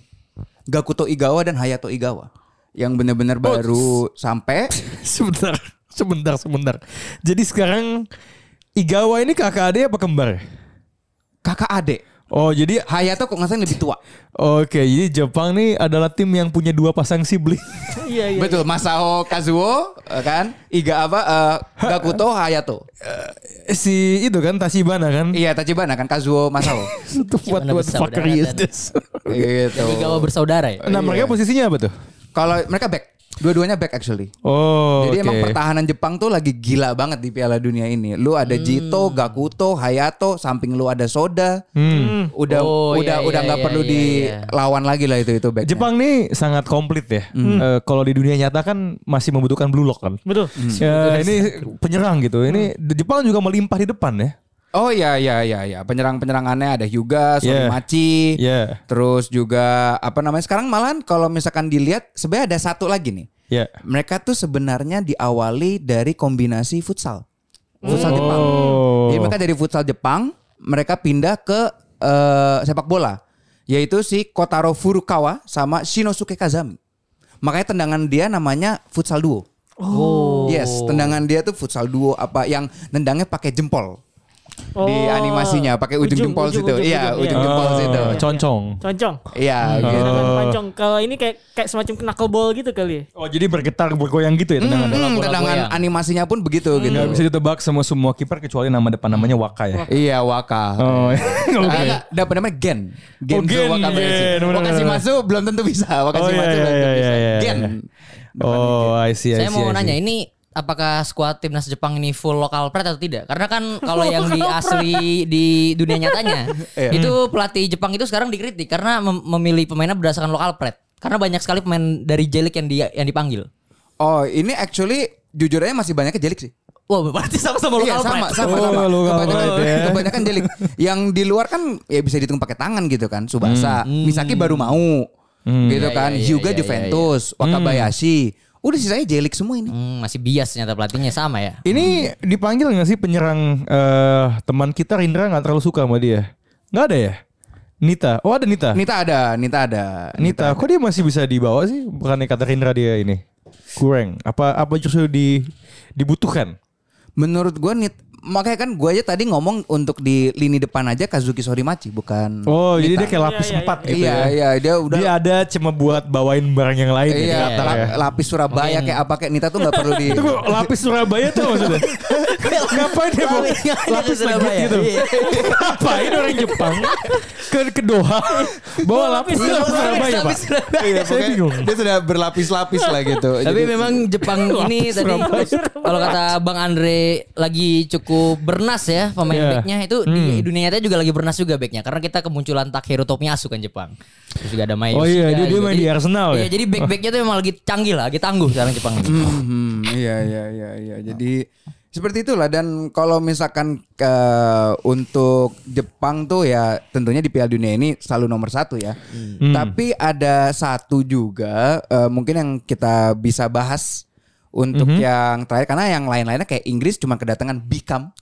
Gakuto Igawa dan Hayato Igawa. Yang benar-benar
Oh,
baru sampai
sebentar, sebentar, sebentar. Jadi sekarang Igawa ini kakak adik apa kembar?
kakak adik.
Oh, jadi
Hayato kok nggak salah lebih tua.
Oke, jadi Jepang nih adalah tim yang punya dua pasang sibling. *laughs*
iya iya
Betul, Masao Kazuo eh, kan, Iga apa eh, Gakuto Hayato.
si itu kan Tashibana kan.
Iya, Tachibana kan Kazuo
*laughs*
Masao.
Itu what,
Tachibana
what the fuck
bersaudara
is
dan-
this?
gitu.
Jadi gawa bersaudara ya.
Nah, mereka posisinya apa tuh?
Kalau mereka back, dua-duanya back actually.
Oh,
Jadi
oke.
emang pertahanan Jepang tuh lagi gila banget di Piala Dunia ini. Lu
Hmm.
ada Jito, Gakuto, Hayato, samping lu ada Soda.
Hmm.
Udah
Oh,
udah
iya,
udah
iya,
nggak
iya,
perlu
iya, iya.
dilawan lagi lah itu itu back.
Jepang nih sangat komplit ya.
Hmm.
Eh, kalau di dunia nyata kan masih membutuhkan blue lock kan.
betul
Hmm. Iya,
Ya, ini penyerang gitu. Ini Jepang juga melimpah di depan ya.
Oh iya iya iya iya. Penyerang-penyerangannya ada Hyuga, Sorimachi.
Yeah.
Terus juga apa namanya sekarang malahan kalau misalkan dilihat sebenarnya ada satu lagi nih.
Ya.
Mereka tuh sebenarnya diawali dari kombinasi futsal. Futsal Jepang.
Oh.
Jadi mereka dari futsal Jepang, mereka pindah ke eh, sepak bola, yaitu si Kotaro Furukawa sama Shinosuke Kazami. Makanya tendangan dia namanya futsal duo. Oh. Yes, tendangan dia tuh futsal duo apa yang nendangnya pakai jempol. Di
Oh.
animasinya pakai ujung, jempol
ujung,
situ.
ujung,
iya,
ujung, Oh.
ujung, jempol
Oh,
situ.
Concong.
Concong.
Iya,
Eh.
gitu.
Tendangan pancong. Kalau ini kayak kayak semacam knuckleball gitu kali ya.
Oh, jadi bergetar bergoyang gitu ya tendangan. Hmm.
Hmm, tendangan
goyang.
animasinya pun begitu gitu.
Nggak bisa ditebak sama semua kiper kecuali nama depan namanya Waka ya.
Iya, Waka.
Oh, *laughs* oke.
Okay. Dapat namanya Gen.
Oh, Gen, Gen, benar,
Wakasi
benar.
masuk belum tentu bisa. Wakasi
Oh, iya, iya,
masuk belum tentu
iya,
bisa.
iya,
Gen.
iya. Oh, I
iya,
see, I
Saya
see, I
mau
see.
nanya ini apakah skuad timnas Jepang ini full lokal pride atau tidak? Karena kan kalau yang di asli di dunia
*laughs*
nyatanya
Iya.
itu pelatih Jepang itu sekarang dikritik karena mem- memilih pemainnya berdasarkan lokal pride. Karena banyak sekali pemain dari Jelik yang di yang dipanggil.
Oh, ini actually jujur aja masih banyak jelik sih.
Wah, *laughs* berarti sama-sama
iya,
lokal
sama,
pride.
sama,
Oh,
sama.
lokal
kebanyakan,
pride ya.
kebanyakan jelik. Yang di luar kan ya bisa dihitung pakai tangan gitu kan. Subasa,
Hmm.
Misaki baru mau. gitu kan.
iya,
Hyuga
iya,
Juventus,
Hmm.
Wakabayashi. Udah sisanya jelik semua ini.
Hmm, masih bias ternyata pelatihnya sama ya.
Ini dipanggil nggak sih penyerang eh, teman kita Rindra nggak terlalu suka sama dia? Nggak ada ya? Nita. Oh ada Nita. Nita.
Nita ada, Nita ada.
Kok dia masih bisa dibawa sih? Bukannya kata Rindra dia ini kurang? Apa apa justru di dibutuhkan?
Menurut gua Nit makanya kan gua aja tadi ngomong untuk di lini depan aja Kazuki Sorimachi bukan
Oh jadi
Nita.
dia kayak lapis
Iya, iya,
empat gitu
iya,
ya?
iya, dia udah
Dia ada cuma buat bawain barang yang lain.
iya,
ya, di Qatar
la-
ya.
lapis Surabaya kayak apa kayak Nita tuh nggak perlu
*laughs*
di
Itu kok lapis Surabaya tuh maksudnya? Ngapain dia mau
*laughs* Lapis- lapis
lapis legit
Surabaya.
gitu?
Iya.
Ngapain orang Jepang ke ke Doha bawa lapis
Surabaya,
Surabaya pak?
lapis Surabaya.
Iya, Saya
Pokoknya
bingung.
dia sudah berlapis-lapis lah gitu
Tapi
*laughs*
memang Jepang ini tadi kalau kata Bang Andre lagi cukup bernas ya pemain
Iya.
backnya itu di dunia nyata juga lagi bernas juga backnya karena kita kemunculan Takeru Tomiyasu kan Jepang. Terus juga ada main.
Oh iya, dia- dia main di Arsenal ya?
Iya, jadi back-backnya tuh memang lagi canggih lah, lagi tangguh sekarang Jepang. ini.
Hmm, iya iya iya iya. Jadi seperti itulah dan kalau misalkan ke untuk Jepang tuh ya tentunya di Piala Dunia ini selalu nomor satu ya.
Hmm.
Tapi ada satu juga eh, mungkin yang kita bisa bahas untuk
Hmm.
yang terakhir karena yang lain-lainnya kayak Inggris cuma kedatangan Bikam,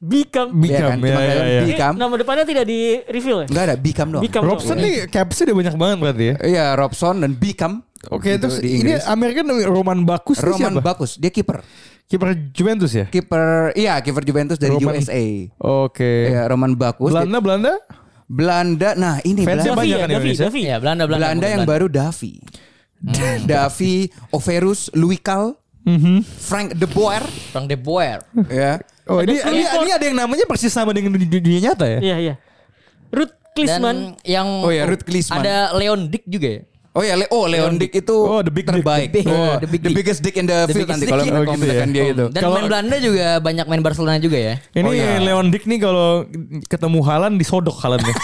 Bikam.
Bikam,
kan?
ya,
Cuma kayak
ya, ya.
Ini
Bikam.
Eh, Nama depannya tidak di reveal ya?
Enggak ada Bikam doang.
Bikam.
Robson nih capsnya udah banyak banget berarti ya.
Iya, Robson dan Bikam.
Oke,
Gitu
terus
di
ini
Inggris.
Amerika Roman Bakus nih
Roman
siapa?
Bakus, dia kiper.
Kiper Juventus ya?
Kiper, iya kiper Juventus dari
Roman-
USA.
Oke.
Iya, Roman Bakus.
Belanda Belanda?
Belanda. Nah, ini
Fansnya
Belanda.
banyak kan Indonesia.
Davi.
Ya Belanda Belanda.
Belanda Hmm. yang baru Davi. *laughs* Davi, Overus, Luikal,
Mhm.
Frank de *laughs* Boer,
Frank de Boer.
ya.
Oh ini, ini,
Freeport.
ini ada yang namanya persis sama dengan di di dunia nyata ya?
Iya iya. Ruth Klisman.
Dan yang
Oh ya, Ruud Klinsmann.
Ada Leon Dick juga ya.
Oh ya, Le oh Leon Dick itu
Oh, the big dick.
terbaik.
The big-
Oh,
the big
the
dick.
biggest dick in the,
The
field nanti
biggest
kalau
dick in
the- Oh,
kalau
gitu ya.
misalkan dia itu.
Dan
Kalau-
pemain Belanda juga banyak main Barcelona juga ya.
Ini
Oh, iya.
Leon Dick nih kalau ketemu Halan disodok Halannya.
*laughs*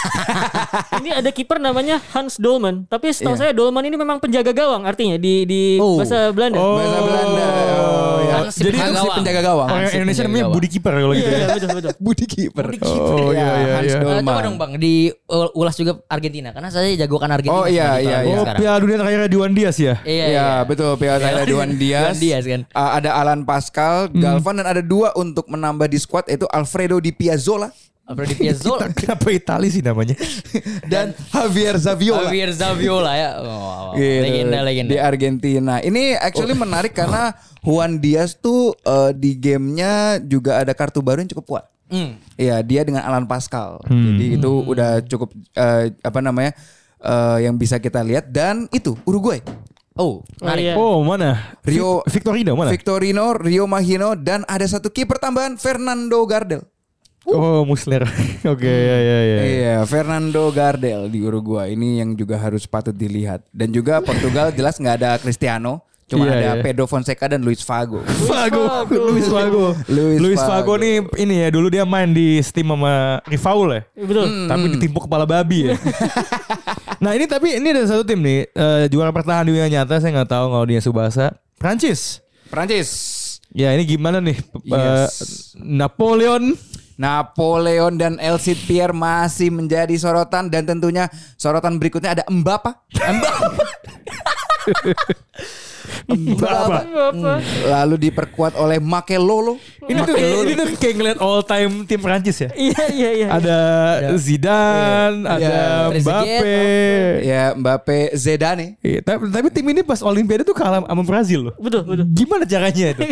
ini ada kiper namanya Hans Dolman. Tapi
Iya.
setahu saya Dolman ini memang penjaga gawang artinya di di
Oh.
bahasa Belanda.
*laughs* Bahasa Belanda. Oh, ya.
Kan si
Jadi
penjaga
itu
Si
gawang.
penjaga gawang.
orang
Hansip
Indonesia
penjaga
namanya
gawang.
Budi Kiper kalau gitu
Iya
ya.
iya, betul betul.
Budi kiper.
Oh
ya.
iya iya
Hans
iya.
Eh, coba
Dolman.
dong Bang diulas juga Argentina karena saya jagokan Argentina.
Oh, iya,
sama
iya,
Italia
Oh
sekarang.
Piala Dunia terakhirnya di Wan Dias ya?
Iya,
Iya,
iya.
betul. Piala Thailand ada
*laughs*
Duan Dias.
Duan Dias, kan.
Uh, ada Alan Pascal, Galvan dan ada dua untuk menambah di squad yaitu Alfredo Di Piazzola
Alfredo
*laughs*
Piazzolla.
Kenapa Itali sih namanya?
dan Javier Zaviola.
Javier Zaviola ya. Oh,
Gitu.
legenda legenda. Oh.
Di Argentina. Ini actually menarik karena Juan Diaz tuh uh, di gamenya juga ada kartu baru yang cukup kuat.
Hmm.
Iya, dia dengan Alan Pascal.
Hmm.
Jadi itu udah cukup uh, apa namanya? uh, yang bisa kita lihat dan itu Uruguay.
Oh, menarik.
iya.
Oh mana?
Rio-
Vic- Victorino mana?
Victorino, Rio Magino dan ada satu kiper tambahan Fernando Gardel.
Oh Musler. *laughs* Oke ya ya ya.
Iya, Fernando Gardel di Uruguay ini yang juga harus patut dilihat. Dan juga Portugal jelas nggak ada Cristiano, cuma
Iya,
ada
iya.
Pedro Fonseca dan Luis Fago.
Fago, Luis Fago.
Luis
Luis Fago
Fago.
nih ini ya dulu dia main di steam sama Rivaul ya.
Betul.
Tapi ditimpuk kepala babi ya. *laughs* nah ini tapi ini ada satu tim nih eh, juara bertahan di dunia nyata saya nggak tahu kalau dia Subasa Prancis.
Prancis,
Ya ini gimana nih P-
Yes.
eh, Napoleon
Napoleon dan El Cid Pierre masih menjadi sorotan dan tentunya sorotan berikutnya ada
*laughs*
Mbapa. Mbapa.
Apa?
Hmm, Lalu diperkuat oleh Makelolo.
ini tuh kayak, ini tuh kayak ngeliat all time tim Prancis ya.
Iya iya iya.
Ada Zidane, ada
Iya.
Mbappe.
Ya Mbappe Zedane.
Iya, tapi, tapi tim ini pas Olimpiade tuh kalah sama Brazil loh.
Betul betul.
Gimana caranya itu?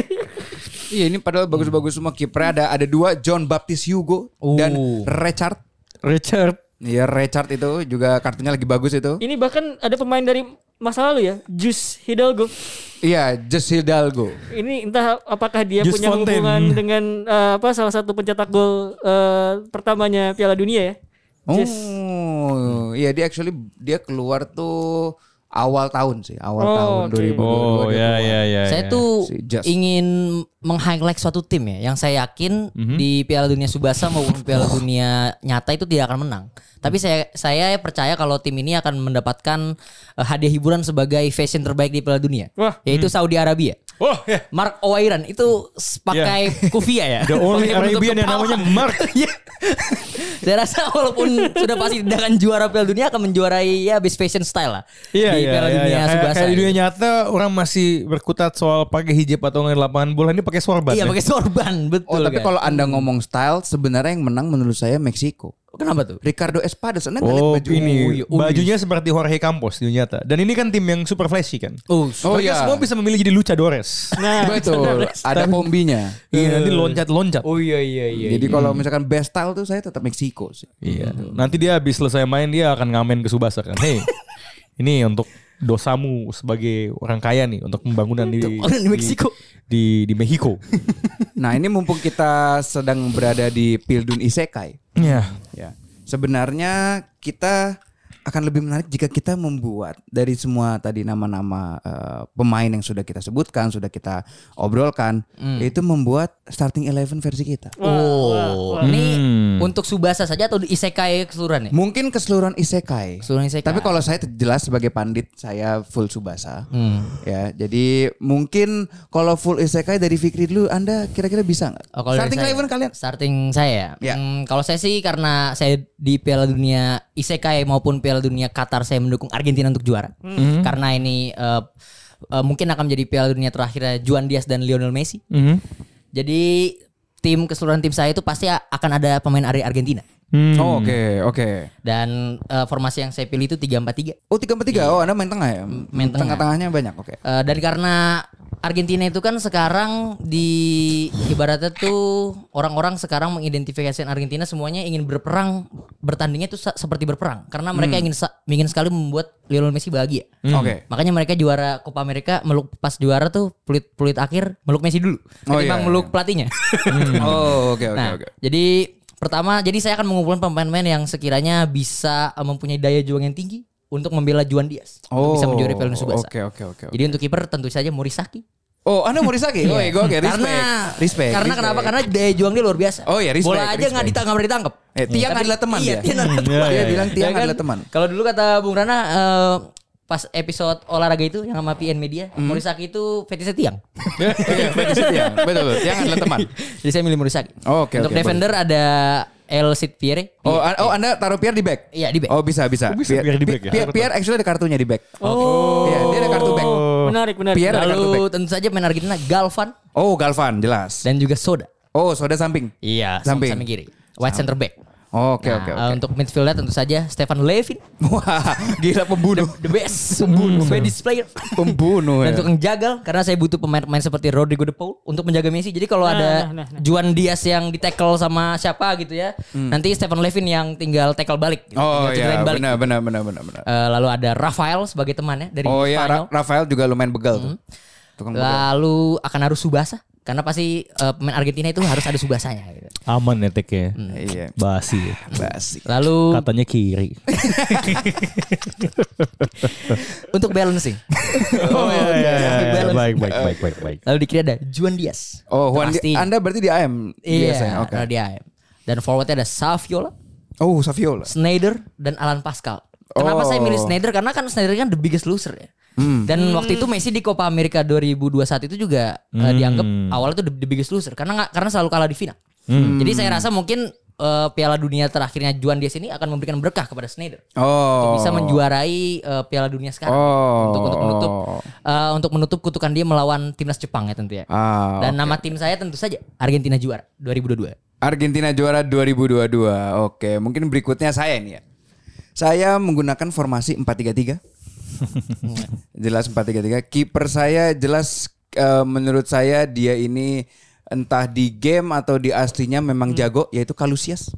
Iya ini padahal bagus-bagus semua kipernya ada ada dua John Baptiste Hugo dan
Oh.
Richard.
Richard
Iya Richard itu juga kartunya lagi bagus itu.
Ini bahkan ada pemain dari masa lalu ya, Jus Hidalgo.
Iya, Jess Hidalgo.
Ini entah apakah dia
Jus
punya
Fontaine.
hubungan dengan eh, apa salah satu pencetak gol eh, pertamanya Piala Dunia ya.
Oh,
Jus.
iya dia actually dia keluar tuh awal tahun sih, awal
Oh,
tahun
oke.
2022.
Oh ya ya ya.
Saya
ya.
tuh
Si Just.
ingin meng-highlight suatu tim ya yang saya yakin di Piala Dunia Subasa maupun Piala Dunia nyata itu tidak akan menang. Tapi saya saya percaya kalau tim ini akan mendapatkan eh, hadiah hiburan sebagai fashion terbaik di Piala Dunia,
Wah.
yaitu Saudi Arabia.
Oh ya.
Mark Owairan itu s- pakai kufia ya.
Iya. *laughs* The only
Pakai penutup
Arabian yang
kepala.
namanya *laughs* Mark.
Iya. Saya rasa walaupun sudah pasti tidak akan juara Piala Dunia akan menjuarai ya best fashion style lah
Iya,
di
iya,
Piala
iya,
Dunia
iya. Kayak-
Subasa. gitu.
Kayak di dunia nyata orang masih berkutat soal pakai hijab atau nggak di lapangan bola ini pakai sorban.
Iya
ya?
pakai sorban
Oh,
betul.
tapi
kan?
kalau Anda ngomong style, sebenarnya yang menang menurut saya Meksiko.
kenapa tuh?
Ricardo Espades, Anda ngeliat
Oh
kan baju
ini
oh, iya.
bajunya seperti Jorge Campos di dunia nyata. Dan ini kan tim yang super flashy kan.
Oh,
Oh,
Mereka
iya.
semua bisa memilih jadi Luchadores.
*laughs*
Nah,
Betul, ada pombinya.
Iya nanti loncat-loncat.
Oh iya iya iya.
Jadi kalau misalkan best style tuh saya tetap Meksiko sih.
Iya. Nanti dia habis selesai main dia akan ngamen ke Subasa kan. Hei, ini untuk dosamu sebagai orang kaya nih untuk pembangunan di
Orang di Meksiko.
di di Mexico.
Nah, ini mumpung kita sedang berada di Pildun Isekai.
Iya.
Ya. Sebenarnya kita akan lebih menarik jika kita membuat dari semua tadi nama-nama eh, pemain yang sudah kita sebutkan, sudah kita obrolkan,
Hmm.
itu membuat starting eleven versi kita.
oh. Ini
Hmm.
untuk Subasa saja atau di Isekai keseluruhan ya?
Mungkin keseluruhan isekai.
Keseluruhan isekai.
Tapi kalau saya jelas sebagai pandit, saya full subasa.
Hmm.
Ya, jadi mungkin kalau full isekai dari Fikri dulu, Anda kira-kira bisa nggak?
Oh, kalau dari
starting
saya.
eleven kalian?
Starting saya.
Ya.
Hmm, kalau saya sih karena saya di Piala Dunia Isekai maupun Piala Dunia Qatar saya mendukung Argentina untuk juara.
Hmm.
Karena ini eh, eh, mungkin akan menjadi Piala Dunia terakhirnya Juan Diaz dan Lionel Messi.
Mhm.
Hmm.
Jadi tim keseluruhan tim saya itu pasti a- akan ada pemain dari Argentina.
Oh, Oke, oke.
Dan eh, formasi yang saya pilih itu 3-4-3.
Oh tiga empat tiga. Oh Anda main tengah ya?
Iya. Main tengah.
tengah-tengahnya banyak. Oke.
Eh, dan karena Argentina itu kan sekarang di ibaratnya tuh orang-orang sekarang mengidentifikasikan Argentina semuanya ingin berperang bertandingnya itu se- seperti berperang karena
Hmm.
mereka ingin sa- ingin sekali membuat Lionel Messi bahagia.
Oke.
Makanya mereka juara Copa America meluk pas juara tuh peluit-peluit akhir meluk Messi dulu
Oh,
ketimbang
iya,
meluk
iya. *laughs*
pelatihnya.
Oh, oke oke
nah,
oke.
jadi pertama jadi saya akan mengumpulkan pemain-pemain yang sekiranya bisa eh, mempunyai daya juang yang tinggi untuk membela Juan Diaz untuk bisa menjuari Piala Subasa.
Oh, Oke oke oke. oke.
Jadi untuk kiper tentu saja Morisaki.
Oh, Anda Morisaki? Oh, iya, gue oke, respect.
Karena
respect.
Karena
respect.
kenapa? Karena daya juang dia luar biasa.
Oh, iya, respect,
Bola aja nggak
respect.
ditangkap, nggak ditangkap.
Eh, tiang adalah teman
iya,
dia.
Tiang
*laughs*
adalah
Hmm, iya,
dia
iya, iya.
bilang tiang
Ya kan?
adalah
*laughs*
teman.
Kalau dulu kata Bung Rana eh, pas episode olahraga itu yang sama PN Media,
Hmm.
Morisaki itu fetishnya tiang.
Iya, betul, tiang. Betul, betul. Tiang adalah teman.
*laughs* Jadi saya milih Morisaki.
Oh, oke,
Untuk
oke,
defender ada El Cid Pierre.
Oh, an- oh Anda taruh Pierre di back?
Iya, di back.
Oh, bisa, bisa.
Oh, bisa Pierre di back ya?
Pierre, Pierre actually ada kartunya di back.
Oh.
Iya, dia ada kartu back.
Menarik, menarik.
Pierre ada kartu
Lalu
back.
tentu saja main Argentina Galvan
Oh, Galvan, jelas.
dan juga Soda.
Oh, Soda samping. Samping.
Iya,
Oh,
samping, samping kiri. White center back.
Oke,
Nah,
oke,
eh,
oke.
Untuk midfieldnya tentu saja Stefan Levin,
*laughs* Wah, gila pembunuh. Hmm.
the best, pembunuh, Swedish player.
Pembunuh. ya.
Dan tukang jagal karena saya butuh pemain-pemain seperti Rodrigo De Paul untuk menjaga Messi. Jadi kalau
Nah,
ada
nah, nah, nah.
Juan Diaz yang di tackle sama siapa gitu ya, nanti Stefan Levin yang tinggal tackle balik. gitu,
Hmm. Oh,
tinggal
iya,
cutlerin balik.
benar, benar, benar, benar, benar.
Eh, lalu ada Rafael sebagai temannya dari
Oh iya, Ra-
Spanyol.
Rafael juga lumayan begal tuh.
Hmm.
Tukang begal.
lalu akan harus Subasa karena pasti eh, pemain Argentina itu harus ada Subasanya. Gitu.
Aman ya teknya.
Iya,
Basi.
basi.
Lalu
Katanya kiri.
untuk
*laughs*
balancing,
Oh iya iya. iya.
Balance.
*laughs* Baik baik baik baik baik.
lalu di kiri ada Juan Diaz.
Oh, Juan,
Itu
di- Anda berarti di AM
Iya,
biasanya. Oke.
karena dia AM. Dan forwardnya ada Saviola,
Oh, Saviola.
Snyder, dan Alan Pascal.
Oh.
Kenapa
Hmm.
saya milih Snyder? Karena kan Snyder kan the biggest loser ya. Dan waktu itu Messi di Copa America 2021 itu juga eh,
Hmm.
dianggap awalnya tuh the, the biggest loser karena nggak karena selalu kalah di final.
Hmm.
Jadi saya rasa mungkin eh, Piala Dunia terakhirnya Juan Diaz ini akan memberikan berkah kepada Snyder.
Oh.
Bisa menjuarai eh, Piala Dunia sekarang
Oh.
untuk untuk menutup eh, untuk menutup kutukan dia melawan timnas Jepang ya tentu ya.
Ah,
Dan nama tim saya tentu saja Argentina juara 2022.
Argentina juara 2022. Oke, mungkin berikutnya saya nih ya. Saya menggunakan formasi 4-3-3. jelas 4-3-3. Kiper saya jelas eh, menurut saya dia ini entah di game atau di aslinya memang jago yaitu Kalusias.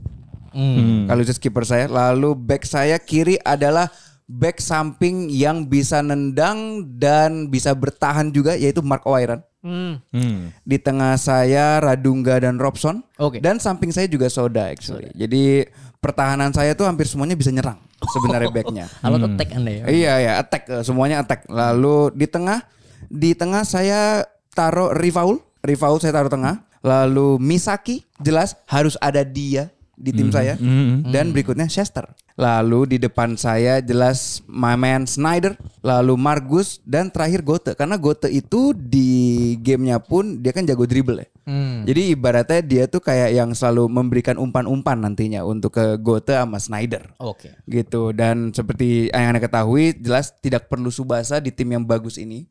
Kalusias kiper saya. Lalu back saya kiri adalah back samping yang bisa nendang dan bisa bertahan juga yaitu Mark Oiran.
Hmm.
Hmm.
Di tengah saya Radunga dan Robson.
Oke.
Dan samping saya juga Soda actually. Jadi pertahanan saya tuh hampir semuanya bisa nyerang sebenarnya backnya.
Kalau ketek anda ya.
Iya ya, attack eh, semuanya attack. Lalu di tengah di tengah saya taruh Rivaul, Rivaul saya taruh tengah. Lalu Misaki jelas harus ada dia di tim saya. Dan berikutnya Chester. Lalu di depan saya jelas my man Snyder, lalu Margus dan terakhir Gote karena Gote itu di gamenya pun dia kan jago dribble ya. Jadi ibaratnya dia tuh kayak yang selalu memberikan umpan-umpan nantinya untuk ke Gote sama Snyder
Oke.
gitu dan seperti yang anda ketahui jelas tidak perlu Subasa di tim yang bagus ini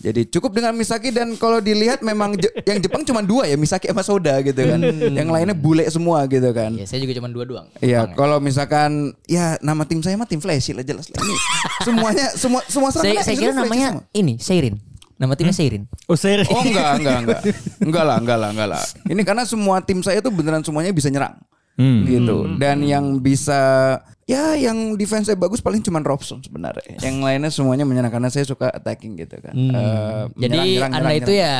jadi cukup dengan Misaki dan kalau dilihat memang Je- yang Jepang cuma dua ya Misaki sama Soda gitu kan
Hmm.
yang lainnya bule semua gitu kan
Ya saya juga cuma dua doang.
Iya, kalau misalkan ya nama tim saya mah tim Flash lah jelas lah ini. Semuanya semua semua
Saya,
serangannya
saya kira
actually Flash
namanya
semua.
ini Seirin. Nama timnya
Hmm.
Seirin.
Oh seri.
*laughs* Oh enggak, enggak, enggak. Enggak lah, enggak lah, enggak lah. Ini karena semua tim saya tuh beneran semuanya bisa nyerang.
Hmm.
Hmm.
Gitu. Dan yang bisa ya yang defense saya bagus paling cuman Robson sebenarnya. Yang lainnya semuanya menyerang karena saya suka attacking gitu kan.
Hmm.
Eh,
Jadi
menyerang, nyerang,
anda
nyerang,
itu
nyerang.
ya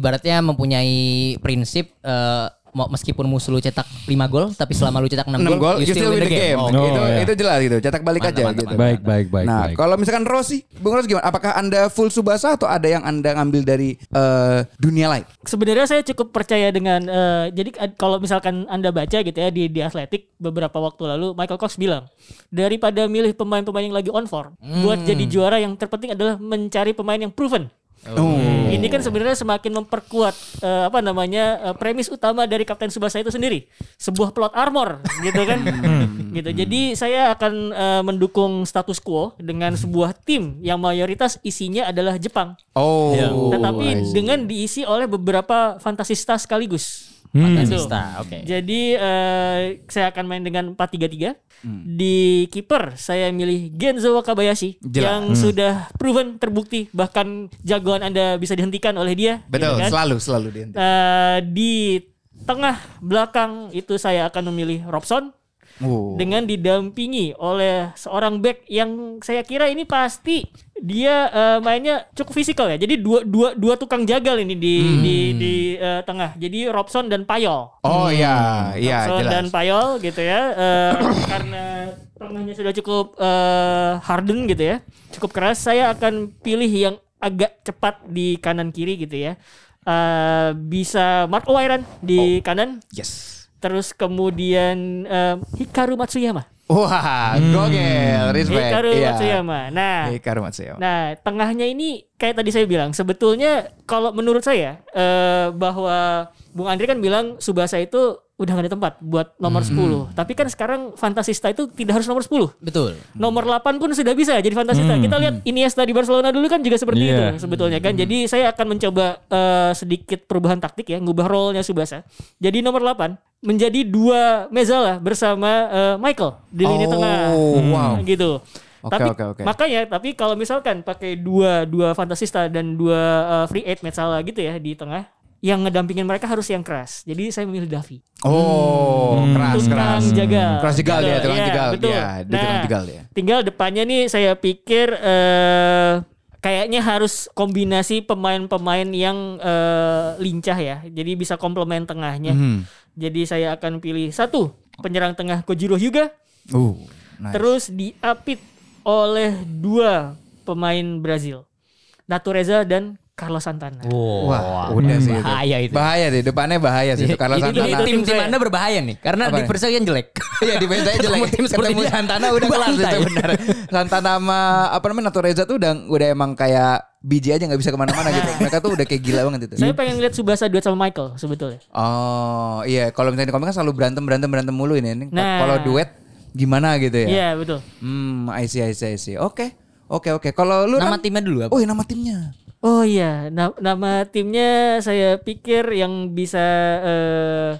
ibaratnya mempunyai prinsip eh, mau meskipun musuh lu cetak 5 gol tapi selama lu cetak 6,
6 gol, you still win the game.
Oh,
oke.
itu,
Oh, iya.
itu jelas gitu. Cetak balik
Mantap,
aja
mantap,
gitu.
Baik baik baik.
nah,
baik.
kalau misalkan Rossi, Bung Rossi gimana? Apakah Anda full Subasa atau ada yang Anda ngambil dari eh, dunia lain?
Sebenarnya saya cukup percaya dengan eh, jadi ad- kalau misalkan Anda baca gitu ya di di Athletic beberapa waktu lalu Michael Cox bilang daripada milih pemain-pemain yang lagi on form
Hmm.
buat jadi juara yang terpenting adalah mencari pemain yang proven.
Oh.
Ini kan sebenarnya semakin memperkuat eh, apa namanya eh, premis utama dari Kapten Subasa itu sendiri, sebuah plot armor gitu kan. gitu. Jadi saya akan eh, mendukung status quo dengan sebuah tim yang mayoritas isinya adalah Jepang
Oh.
Iya.
tetapi dengan diisi oleh beberapa fantasista sekaligus. Gitu.
Hmm.
Hmm.
Bautista, oke.
Jadi eh, saya akan main dengan 4-3-3.
Hmm.
Di kiper saya milih Genzo Wakabayashi
Jelas. Hmm.
yang sudah proven terbukti bahkan jagoan Anda bisa dihentikan oleh dia.
Betul,
gitu kan?
selalu selalu dihentikan.
Eh, di tengah belakang itu saya akan memilih Robson
Oh.
dengan didampingi oleh seorang back yang saya kira ini pasti dia eh, mainnya cukup fisikal ya. Jadi dua dua dua tukang jagal ini di di
Hmm.
di eh, tengah. Jadi Robson dan Payol.
Oh iya, iya
Robson
jelas.
dan Payol gitu ya. Eh, *coughs* karena tengahnya sudah cukup eh, harden gitu ya. Cukup keras saya akan pilih yang agak cepat di kanan kiri gitu ya. Eh, bisa Mark Owiran di
Oh.
kanan
Yes.
Terus kemudian em, Hikaru Matsuyama.
Wah, gogel, respect.
Hmm. Hikaru
Iya.
Matsuyama. Nah,
Hikaru Matsuyama.
nah tengahnya ini kayak tadi saya bilang sebetulnya kalau menurut saya eh, bahwa Bung Andri kan bilang Subasa itu udah gak ada tempat buat nomor 10. Tapi kan sekarang Fantasista itu tidak harus nomor 10.
Betul.
Nomor 8 pun sudah bisa jadi fantasista. Kita lihat Iniesta di Barcelona dulu kan juga
Iya.
seperti itu sebetulnya kan. Jadi saya akan mencoba eh, sedikit perubahan taktik ya, ngubah role-nya Subasa. Jadi nomor 8 menjadi dua Mezala bersama eh, Michael di lini
Oh,
tengah.
wow.
Gitu.
Oke,
tapi
oke, oke.
makanya tapi kalau misalkan pakai dua dua fantasista dan dua eh, free eight Mezala gitu ya di tengah yang ngedampingin mereka harus yang keras. Jadi saya memilih Davi.
Oh, keras,
Tukang
keras. Hmm.
jegal.
Keras jegal dia, tukang
Hmm. Iya,
jegal.
Betul.
Iya, dia tukang
Nah,
jegal dia.
Tinggal depannya nih saya pikir eh kayaknya harus kombinasi pemain-pemain yang eh, lincah ya. Jadi bisa komplement tengahnya. Jadi saya akan pilih satu penyerang tengah Kojiro Hyuga
Uh, nice.
terus diapit oleh dua pemain Brazil. Natureza dan Carlos Santana.
Oh.
Wah, iya, udah sih itu.
bahaya itu.
Hmm, Bahaya deh, depannya bahaya sih *laughs* itu Carlos
Ini- ini
Santana.
tim tim
saya.
Anda berbahaya nih karena
Apa
di
nih?
Persel yang jelek.
*laughs* Iya di saya jelek.
Ketemu tim seperti
Ketemu
dia.
Santana udah
Dua
kelas itu
lantai.
benar. Santana sama apa namanya Natureza tuh udah udah emang kayak biji aja nggak bisa kemana-mana
*laughs*
gitu. Mereka tuh udah kayak gila banget itu.
Saya pengen lihat Subasa duet sama Michael sebetulnya.
Oh iya kalau misalnya di komik kan selalu berantem berantem berantem mulu ini. Ini
Nah.
Kalau duet gimana gitu
Iya,
ya?
betul.
Hmm, I see, I see, I see. Oke, oke, oke. Kalau lu Ran?
Nama timnya dulu apa?
Oh, iya, nama timnya.
Oh iya, na- nama timnya saya pikir yang bisa eh,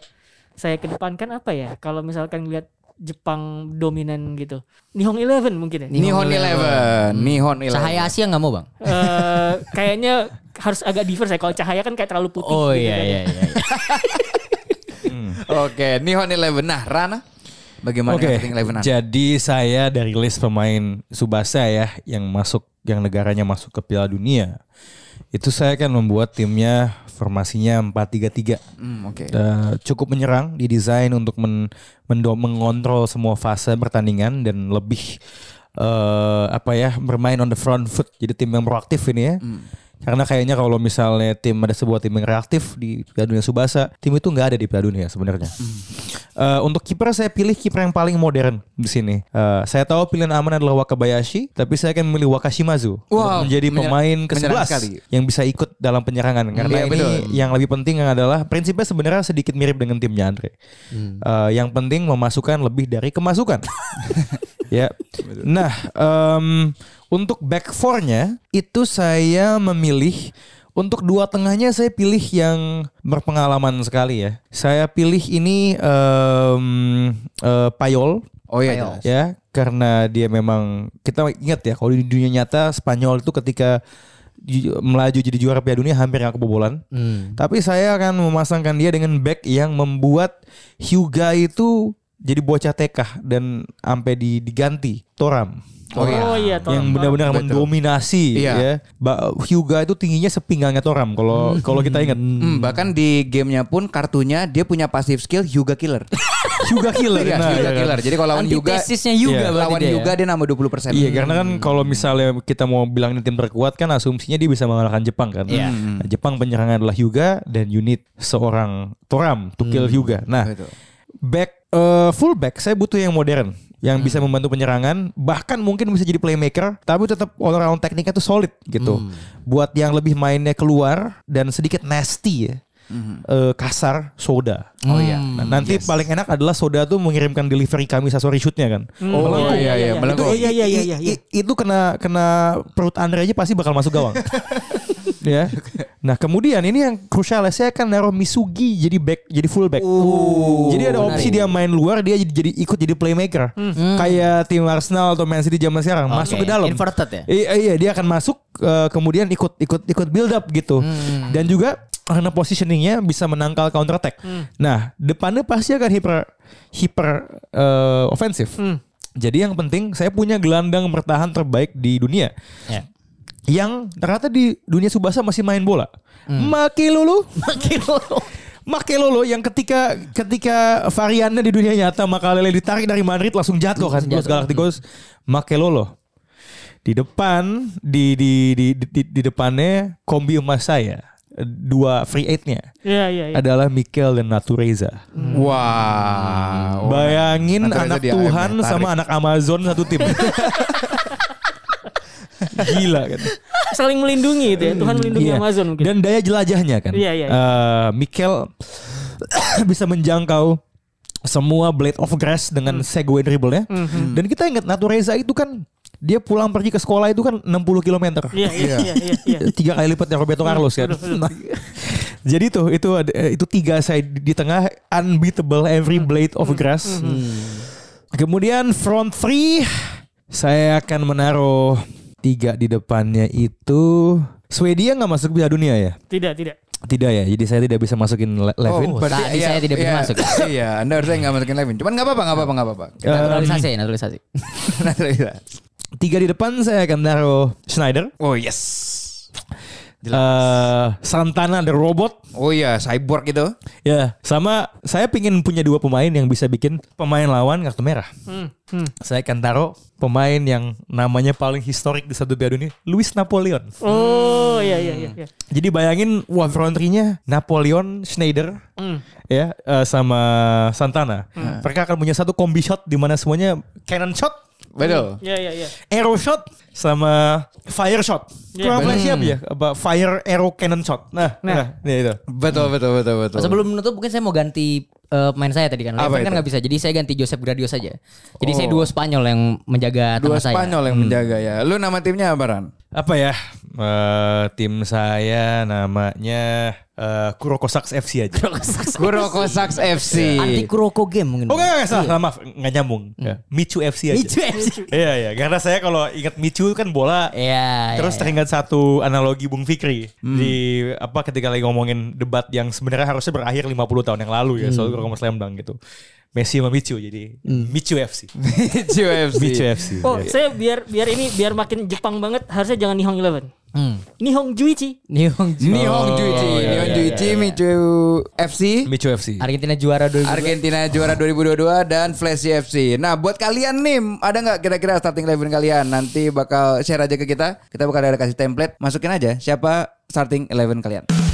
saya kedepankan apa ya? Kalau misalkan lihat Jepang dominan gitu, Nihon Eleven mungkin ya.
Nihon Eleven. Nihon Eleven.
Hmm. Cahaya Asia nggak mau bang?
Eh, kayaknya harus agak diverse ya. Kalau cahaya kan kayak terlalu putih.
Oh
gitu
iya
kan ya.
iya iya.
Oke, Nihon Eleven. Nah, Rana, bagaimana
Oke,
rating Eleven? Rana?
jadi saya dari list pemain Subasa ya yang masuk yang negaranya masuk ke Piala Dunia itu saya akan membuat timnya formasinya 4-3-3
Hmm, oke.
Eh, cukup menyerang didesain untuk men, mendo- mengontrol semua fase pertandingan dan lebih eh, apa ya bermain on the front foot jadi tim yang proaktif ini ya
Hmm.
karena kayaknya kalau misalnya tim ada sebuah tim yang reaktif di Piala Dunia Subasa tim itu nggak ada di Piala Dunia sebenarnya
Hmm.
Eh, untuk kiper saya pilih kiper yang paling modern di sini Eh, saya tahu pilihan aman adalah Wakabayashi tapi saya akan memilih Wakashimazu untuk
Wow,
menjadi
menyer-
pemain ke
menyerang sekali.
11 yang bisa ikut dalam penyerangan karena
iya,
ini
betul.
yang lebih penting adalah prinsipnya sebenarnya sedikit mirip dengan timnya Andre.
Hmm.
Eh, yang penting memasukkan lebih dari kemasukan.
*laughs*
ya. Nah, em, untuk back four-nya itu saya memilih untuk dua tengahnya saya pilih yang berpengalaman sekali ya. Saya pilih ini em, eh, Payol
Oh iya, jelas.
ya karena dia memang kita ingat ya kalau di dunia nyata Spanyol itu ketika ju- melaju jadi juara Piala Dunia hampir nggak kebobolan.
Hmm.
Tapi saya akan memasangkan dia dengan back yang membuat Hyuga itu jadi bocah TK dan sampai di- diganti Toram.
Oh iya.
Oh iya, Tom.
yang benar-benar
Betul.
mendominasi
Iya.
ya. Ba- Hyuga itu tingginya sepinggangnya Toram
*laughs*
kalau kalau kita ingat.
Hmm, bahkan di gamenya pun kartunya dia punya pasif skill Hyuga Killer.
Hyuga *laughs* killer.
Iya,
Nah,
Hyuga Killer. Jadi kalau
Kan
lawan Hyuga,
Antitesisnya Yuga
Iya.
berarti
lawan
dia ya?
Hyuga dia nambah 20%.
Iya karena kan
Hmm.
kalau misalnya kita mau bilang ini tim terkuat kan asumsinya dia bisa mengalahkan Jepang kan.
Iya.
Nah, Jepang penyerangan adalah Hyuga dan unit seorang Toram to kill Hyuga. Nah,
Hmm. Betul.
back eh, fullback saya butuh yang modern yang
Hmm.
bisa membantu penyerangan bahkan mungkin bisa jadi playmaker tapi tetap all around tekniknya tuh solid gitu.
Hmm.
Buat yang lebih mainnya keluar dan sedikit nasty ya. Eh, kasar soda.
Hmm. Oh iya.
Nah, nanti paling enak adalah soda tuh mengirimkan delivery kami Sasori shootnya kan.
Oh iya iya,
Itu,
melengkung.
i- i- i- itu kena kena perut Andre aja pasti bakal masuk gawang. ya. Nah, kemudian ini yang krusial saya akan naruh Misugi jadi back, jadi full back. jadi ada opsi dia main luar, dia jadi, jadi ikut jadi playmaker. Kayak tim Arsenal atau Man City zaman sekarang,
Oke,
masuk ke dalam.
inverted ya?
I- iya, dia akan masuk eh, kemudian ikut ikut ikut build up gitu. Dan juga karena positioningnya bisa menangkal counter attack. Nah, depannya pasti akan hiper hiper eh, ofensif. Jadi yang penting saya punya gelandang bertahan terbaik di dunia
Ya.
yang ternyata di dunia subasa masih main bola. Maki lulu,
Makin lulu.
Maki lulu yang ketika ketika variannya di dunia nyata Makalele ditarik dari Madrid langsung jatuh kan. Los Galacticos Maki lulu. Di depan di di di di, di- di depannya kombi emas saya dua free eight-nya
Iya, iya, iya.
adalah Mikel dan Natureza.
Wow.
Bayangin
Oh, Natureza
anak
di AMF,
Tuhan
tarik.
sama anak Amazon satu
*laughs*
tim. Gila kan.
Saling melindungi itu ya. Tuhan melindungi
Iya.
Amazon mungkin.
Dan daya jelajahnya kan.
Iya, iya, iya.
Eh, Mikel *coughs* bisa menjangkau semua blade of grass dengan
Hmm.
segue dribblenya. Dan kita ingat Natureza itu kan dia pulang pergi ke sekolah itu kan 60 km.
Iya, iya, iya, iya, iya.
*laughs* Tiga kali lipatnya Roberto Carlos kan. Nah, Jadi tuh itu ada- eh, itu tiga side di di tengah unbeatable every blade of grass. Hmm. Kemudian front three saya akan menaruh tiga di depannya itu Swedia nggak masuk Piala Dunia ya?
Tidak, tidak.
Tidak ya. Jadi saya tidak bisa masukin Le- Levin.
Oh, tadi saya tidak bisa masuk.
*laughs* Iya, Anda harusnya nggak masukin Levin. Cuman nggak apa-apa, nggak apa-apa, nggak apa-apa. *laughs* Nah,
Eh,
Naturalisasi ya, naturalisasi.
Natureza.
tiga di depan saya akan naruh Schneider,
Oh yes.
eh, Santana the robot.
Oh iya, cyborg itu.
Ya, sama saya pingin punya dua pemain yang bisa bikin pemain lawan kartu merah. Saya akan taruh pemain yang namanya paling historik di satu piala dunia, Luis Napoleon.
Oh, iya, iya, iya. iya.
Jadi bayangin wah front three-nya Napoleon, Schneider, ya eh, sama Santana. Hmm. Mereka akan punya satu kombi shot di mana semuanya cannon shot,
Betul.
Iya, iya, iya.
arrow shot sama fire shot.
Iya,
Kurang
bener.
flashnya apa ya? Apa fire arrow cannon shot. Nah, nah, ya itu.
Betul, betul, betul,
Oh,
betul.
Sebelum menutup mungkin saya mau ganti eh, pemain saya tadi kan.
Apa
Levan kan
itu?
nggak bisa. Jadi saya ganti Josep Gradio saja. Jadi saya dua Spanyol yang menjaga
dua
tengah saya.
Spanyol yang menjaga ya. Lu nama timnya apa
*laughs*
Ran?
apa ya eh, tim saya namanya eh, Kurokosaks FC aja.
Kuroko Saks
Iya.
FC.
Anti Kuroko game mungkin.
Oh enggak, enggak, salah, salah, maaf, enggak nyambung. Ya, Michu FC aja.
Micu FC.
Iya, iya, karena saya kalau ingat Michu kan bola
Iya.
Terus
iya, iya.
teringat satu analogi Bung Fikri di apa ketika lagi ngomongin debat yang sebenarnya harusnya berakhir 50 tahun yang lalu ya soal Kurokoma Slam Dunk gitu. Messi sama Michu jadi Michu FC.
*laughs* Michu FC.
Michu FC.
Oh,
ya.
saya biar biar ini biar makin Jepang banget harusnya jangan Nihong Eleven.
Hmm.
Nihong Juichi.
Nihong Ju-
Nihon Juichi,
iya,
Nihon
iya,
Juichi, Michu FC.
Michu FC.
Argentina juara 2000.
Argentina juara 2022 dan Flash FC. Nah, buat kalian nih, ada nggak kira-kira starting eleven kalian? Nanti bakal share aja ke kita. Kita bakal ada kasih template, masukin aja siapa starting eleven kalian.